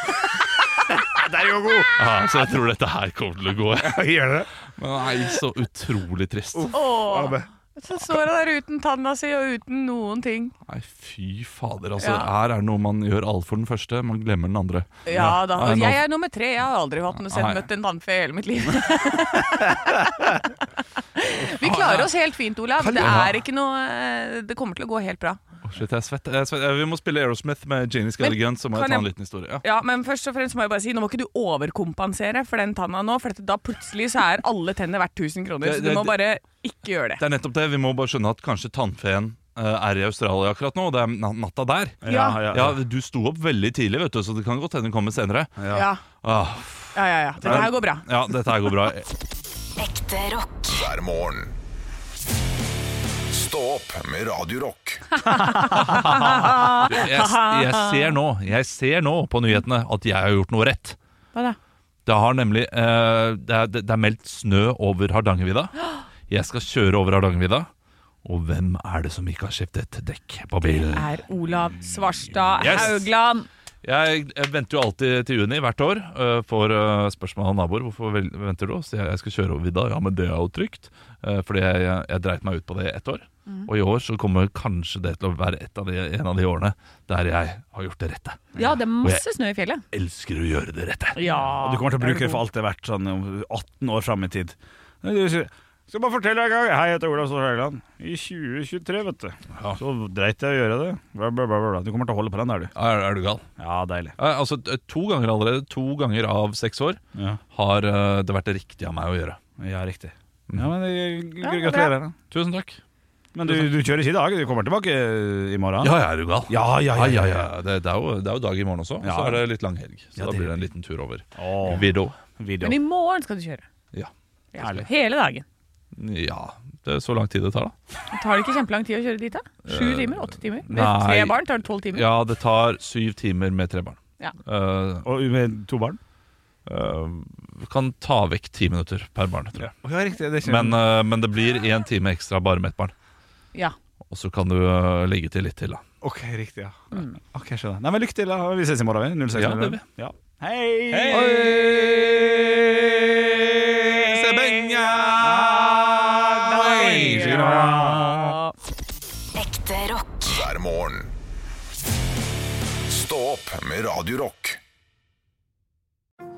Speaker 6: Den er jo god!
Speaker 8: Ja, så jeg tror dette her kommer til å gå.
Speaker 6: Gjør det?
Speaker 8: Men nei, så utrolig trist.
Speaker 7: Åh. Så står hun der uten tanna si og uten noen ting.
Speaker 8: Nei, fy fader. Altså,
Speaker 7: Ja.
Speaker 8: Her er det noe man gjør alt for den første, man glemmer den andre.
Speaker 7: Ja da.
Speaker 8: Nei,
Speaker 7: Og
Speaker 8: nå-
Speaker 7: jeg er nummer tre. Jeg har aldri hatt noe sett
Speaker 8: Nei.
Speaker 7: møtt en tannfe i hele mitt liv. Vi klarer oss helt fint, Olav. Det
Speaker 8: Ja.
Speaker 7: er ikke noe eh, Det kommer til å gå helt bra.
Speaker 8: Å, shit, jeg er svett. Jeg er svett. Eh, Vi må spille Aerosmith med Janie Skelligan, så må
Speaker 7: kan
Speaker 8: jeg ta en
Speaker 7: jeg-
Speaker 8: liten historie. Ja.
Speaker 7: Ja, men først og fremst må jeg bare si Nå må ikke du overkompensere for den tanna nå, for at da plutselig så er alle tenner verdt 1000 kroner.
Speaker 8: Det-
Speaker 7: Så
Speaker 8: det-
Speaker 7: du må bare ikke gjøre det.
Speaker 8: Det er nettopp det. Vi må bare skjønne at kanskje tannfeen eh, er i Australia akkurat nå, og det er na- natta der.
Speaker 7: Ja. Ja,
Speaker 6: ja, ja.
Speaker 8: Du sto opp veldig tidlig, vet du, så det kan godt hende hun kommer senere.
Speaker 7: Ja.
Speaker 8: Ah,
Speaker 7: Ja, ja, ja. Dette her går bra.
Speaker 8: ja, dette her går bra.
Speaker 5: Ekte rock. Hver morgen. Stå opp med Radio Rock.
Speaker 8: Jeg, jeg ser nå, jeg ser nå på nyhetene at jeg har gjort noe rett.
Speaker 7: Hva da?
Speaker 8: Det har nemlig eh, det, er, det er meldt snø over Hardangervidda. Jeg skal kjøre over Hardangervidda. Og hvem er det som ikke har skiftet dekk på bilen?
Speaker 7: Er Olav Svarstad
Speaker 8: Yes.
Speaker 7: Haugland.
Speaker 8: Jeg jeg venter jo alltid til juni hvert år eh, for eh, spørsmål av naboer. Hvorfor vel- venter du? Så jeg, jeg skal kjøre over vidda. Ja, men det er jo trygt. Eh, Fordi jeg, jeg, jeg dreit meg ut på det i ett år.
Speaker 7: Mhm.
Speaker 8: Og i år så kommer kanskje det til å være et av de, en av de årene der jeg har gjort det rette.
Speaker 7: Ja, det er
Speaker 8: Og
Speaker 7: masse snø i fjellet.
Speaker 8: Elsker å gjøre det rette.
Speaker 7: Ja.
Speaker 6: Og du kommer til å bruke det for alt det er verdt, sånn om 18 år fram i tid. Nei, du sier, Skal bare fortelle deg en gang. Hei, jeg heter Olav Ståhl Høgland. I 2023, vet du. Så dreit jeg i å gjøre det. Bla, bla, bla, bla. Du kommer til å holde på den der, du.
Speaker 8: Er, er du gal?
Speaker 6: Ja, deilig.
Speaker 8: Eh, Altså t- To ganger allerede, to ganger av seks år,
Speaker 6: Ja.
Speaker 8: har eh, det vært det riktige av meg å gjøre.
Speaker 6: Ja, riktig. Ja, men eh, g-
Speaker 8: Ja, det er bra.
Speaker 6: Gratulerer. da.
Speaker 8: Tusen takk.
Speaker 6: Men du, du kjører ikke i dag? Du kommer tilbake eh, i morgen?
Speaker 8: Ja, ja, er du gal?
Speaker 6: Ja, ja, ja, ja,
Speaker 8: Det, det, er jo, det er jo dag i morgen også,
Speaker 6: Ja.
Speaker 8: så er det litt lang helg. Så
Speaker 6: Ja,
Speaker 8: da
Speaker 6: det-
Speaker 8: blir det en liten tur over.
Speaker 6: Åh.
Speaker 8: Vidå.
Speaker 7: Men i morgen skal du kjøre.
Speaker 8: Ja.
Speaker 7: Ja, hele dagen.
Speaker 8: ja. Det er så lang tid det tar, da.
Speaker 7: Tar det ikke kjempelang tid å kjøre dit, da? Sju
Speaker 8: Eh,
Speaker 7: timer? Åtte timer? Med
Speaker 8: nei.
Speaker 7: tre barn tar det tolv timer.
Speaker 8: Ja, det tar syv timer med tre barn.
Speaker 7: Ja.
Speaker 8: og
Speaker 6: med to barn?
Speaker 8: eh, kan ta vekk ti minutter per barn, tror jeg.
Speaker 6: Å, ja, riktig, det skjer.
Speaker 8: Men, eh, men det blir én time ekstra bare med ett barn.
Speaker 7: Ja.
Speaker 8: Og så kan du eh, legge til litt til, da.
Speaker 6: OK, riktig, ja. Mm. Ok, skjønner. Nei, men Lykke til. da. Vi ses i morgen. vi. 06
Speaker 8: Ja, det gjør vi.
Speaker 6: Ja. Hei!
Speaker 5: Ekte rock. Hver morgen. Stå opp med Radio Rock.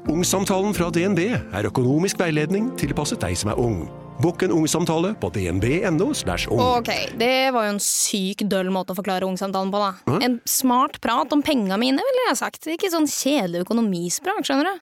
Speaker 10: Ungsamtalen fra DNB er økonomisk veiledning tilpasset deg som er ung. Bokk en ungsamtale på dnb.no. /ung.
Speaker 11: Ok, det var jo en syk døll måte å forklare ungsamtalen på, da.
Speaker 10: Hæ?
Speaker 11: En smart prat om penga mine, ville jeg ha sagt. Ikke sånn kjedelig økonomisprat, skjønner du.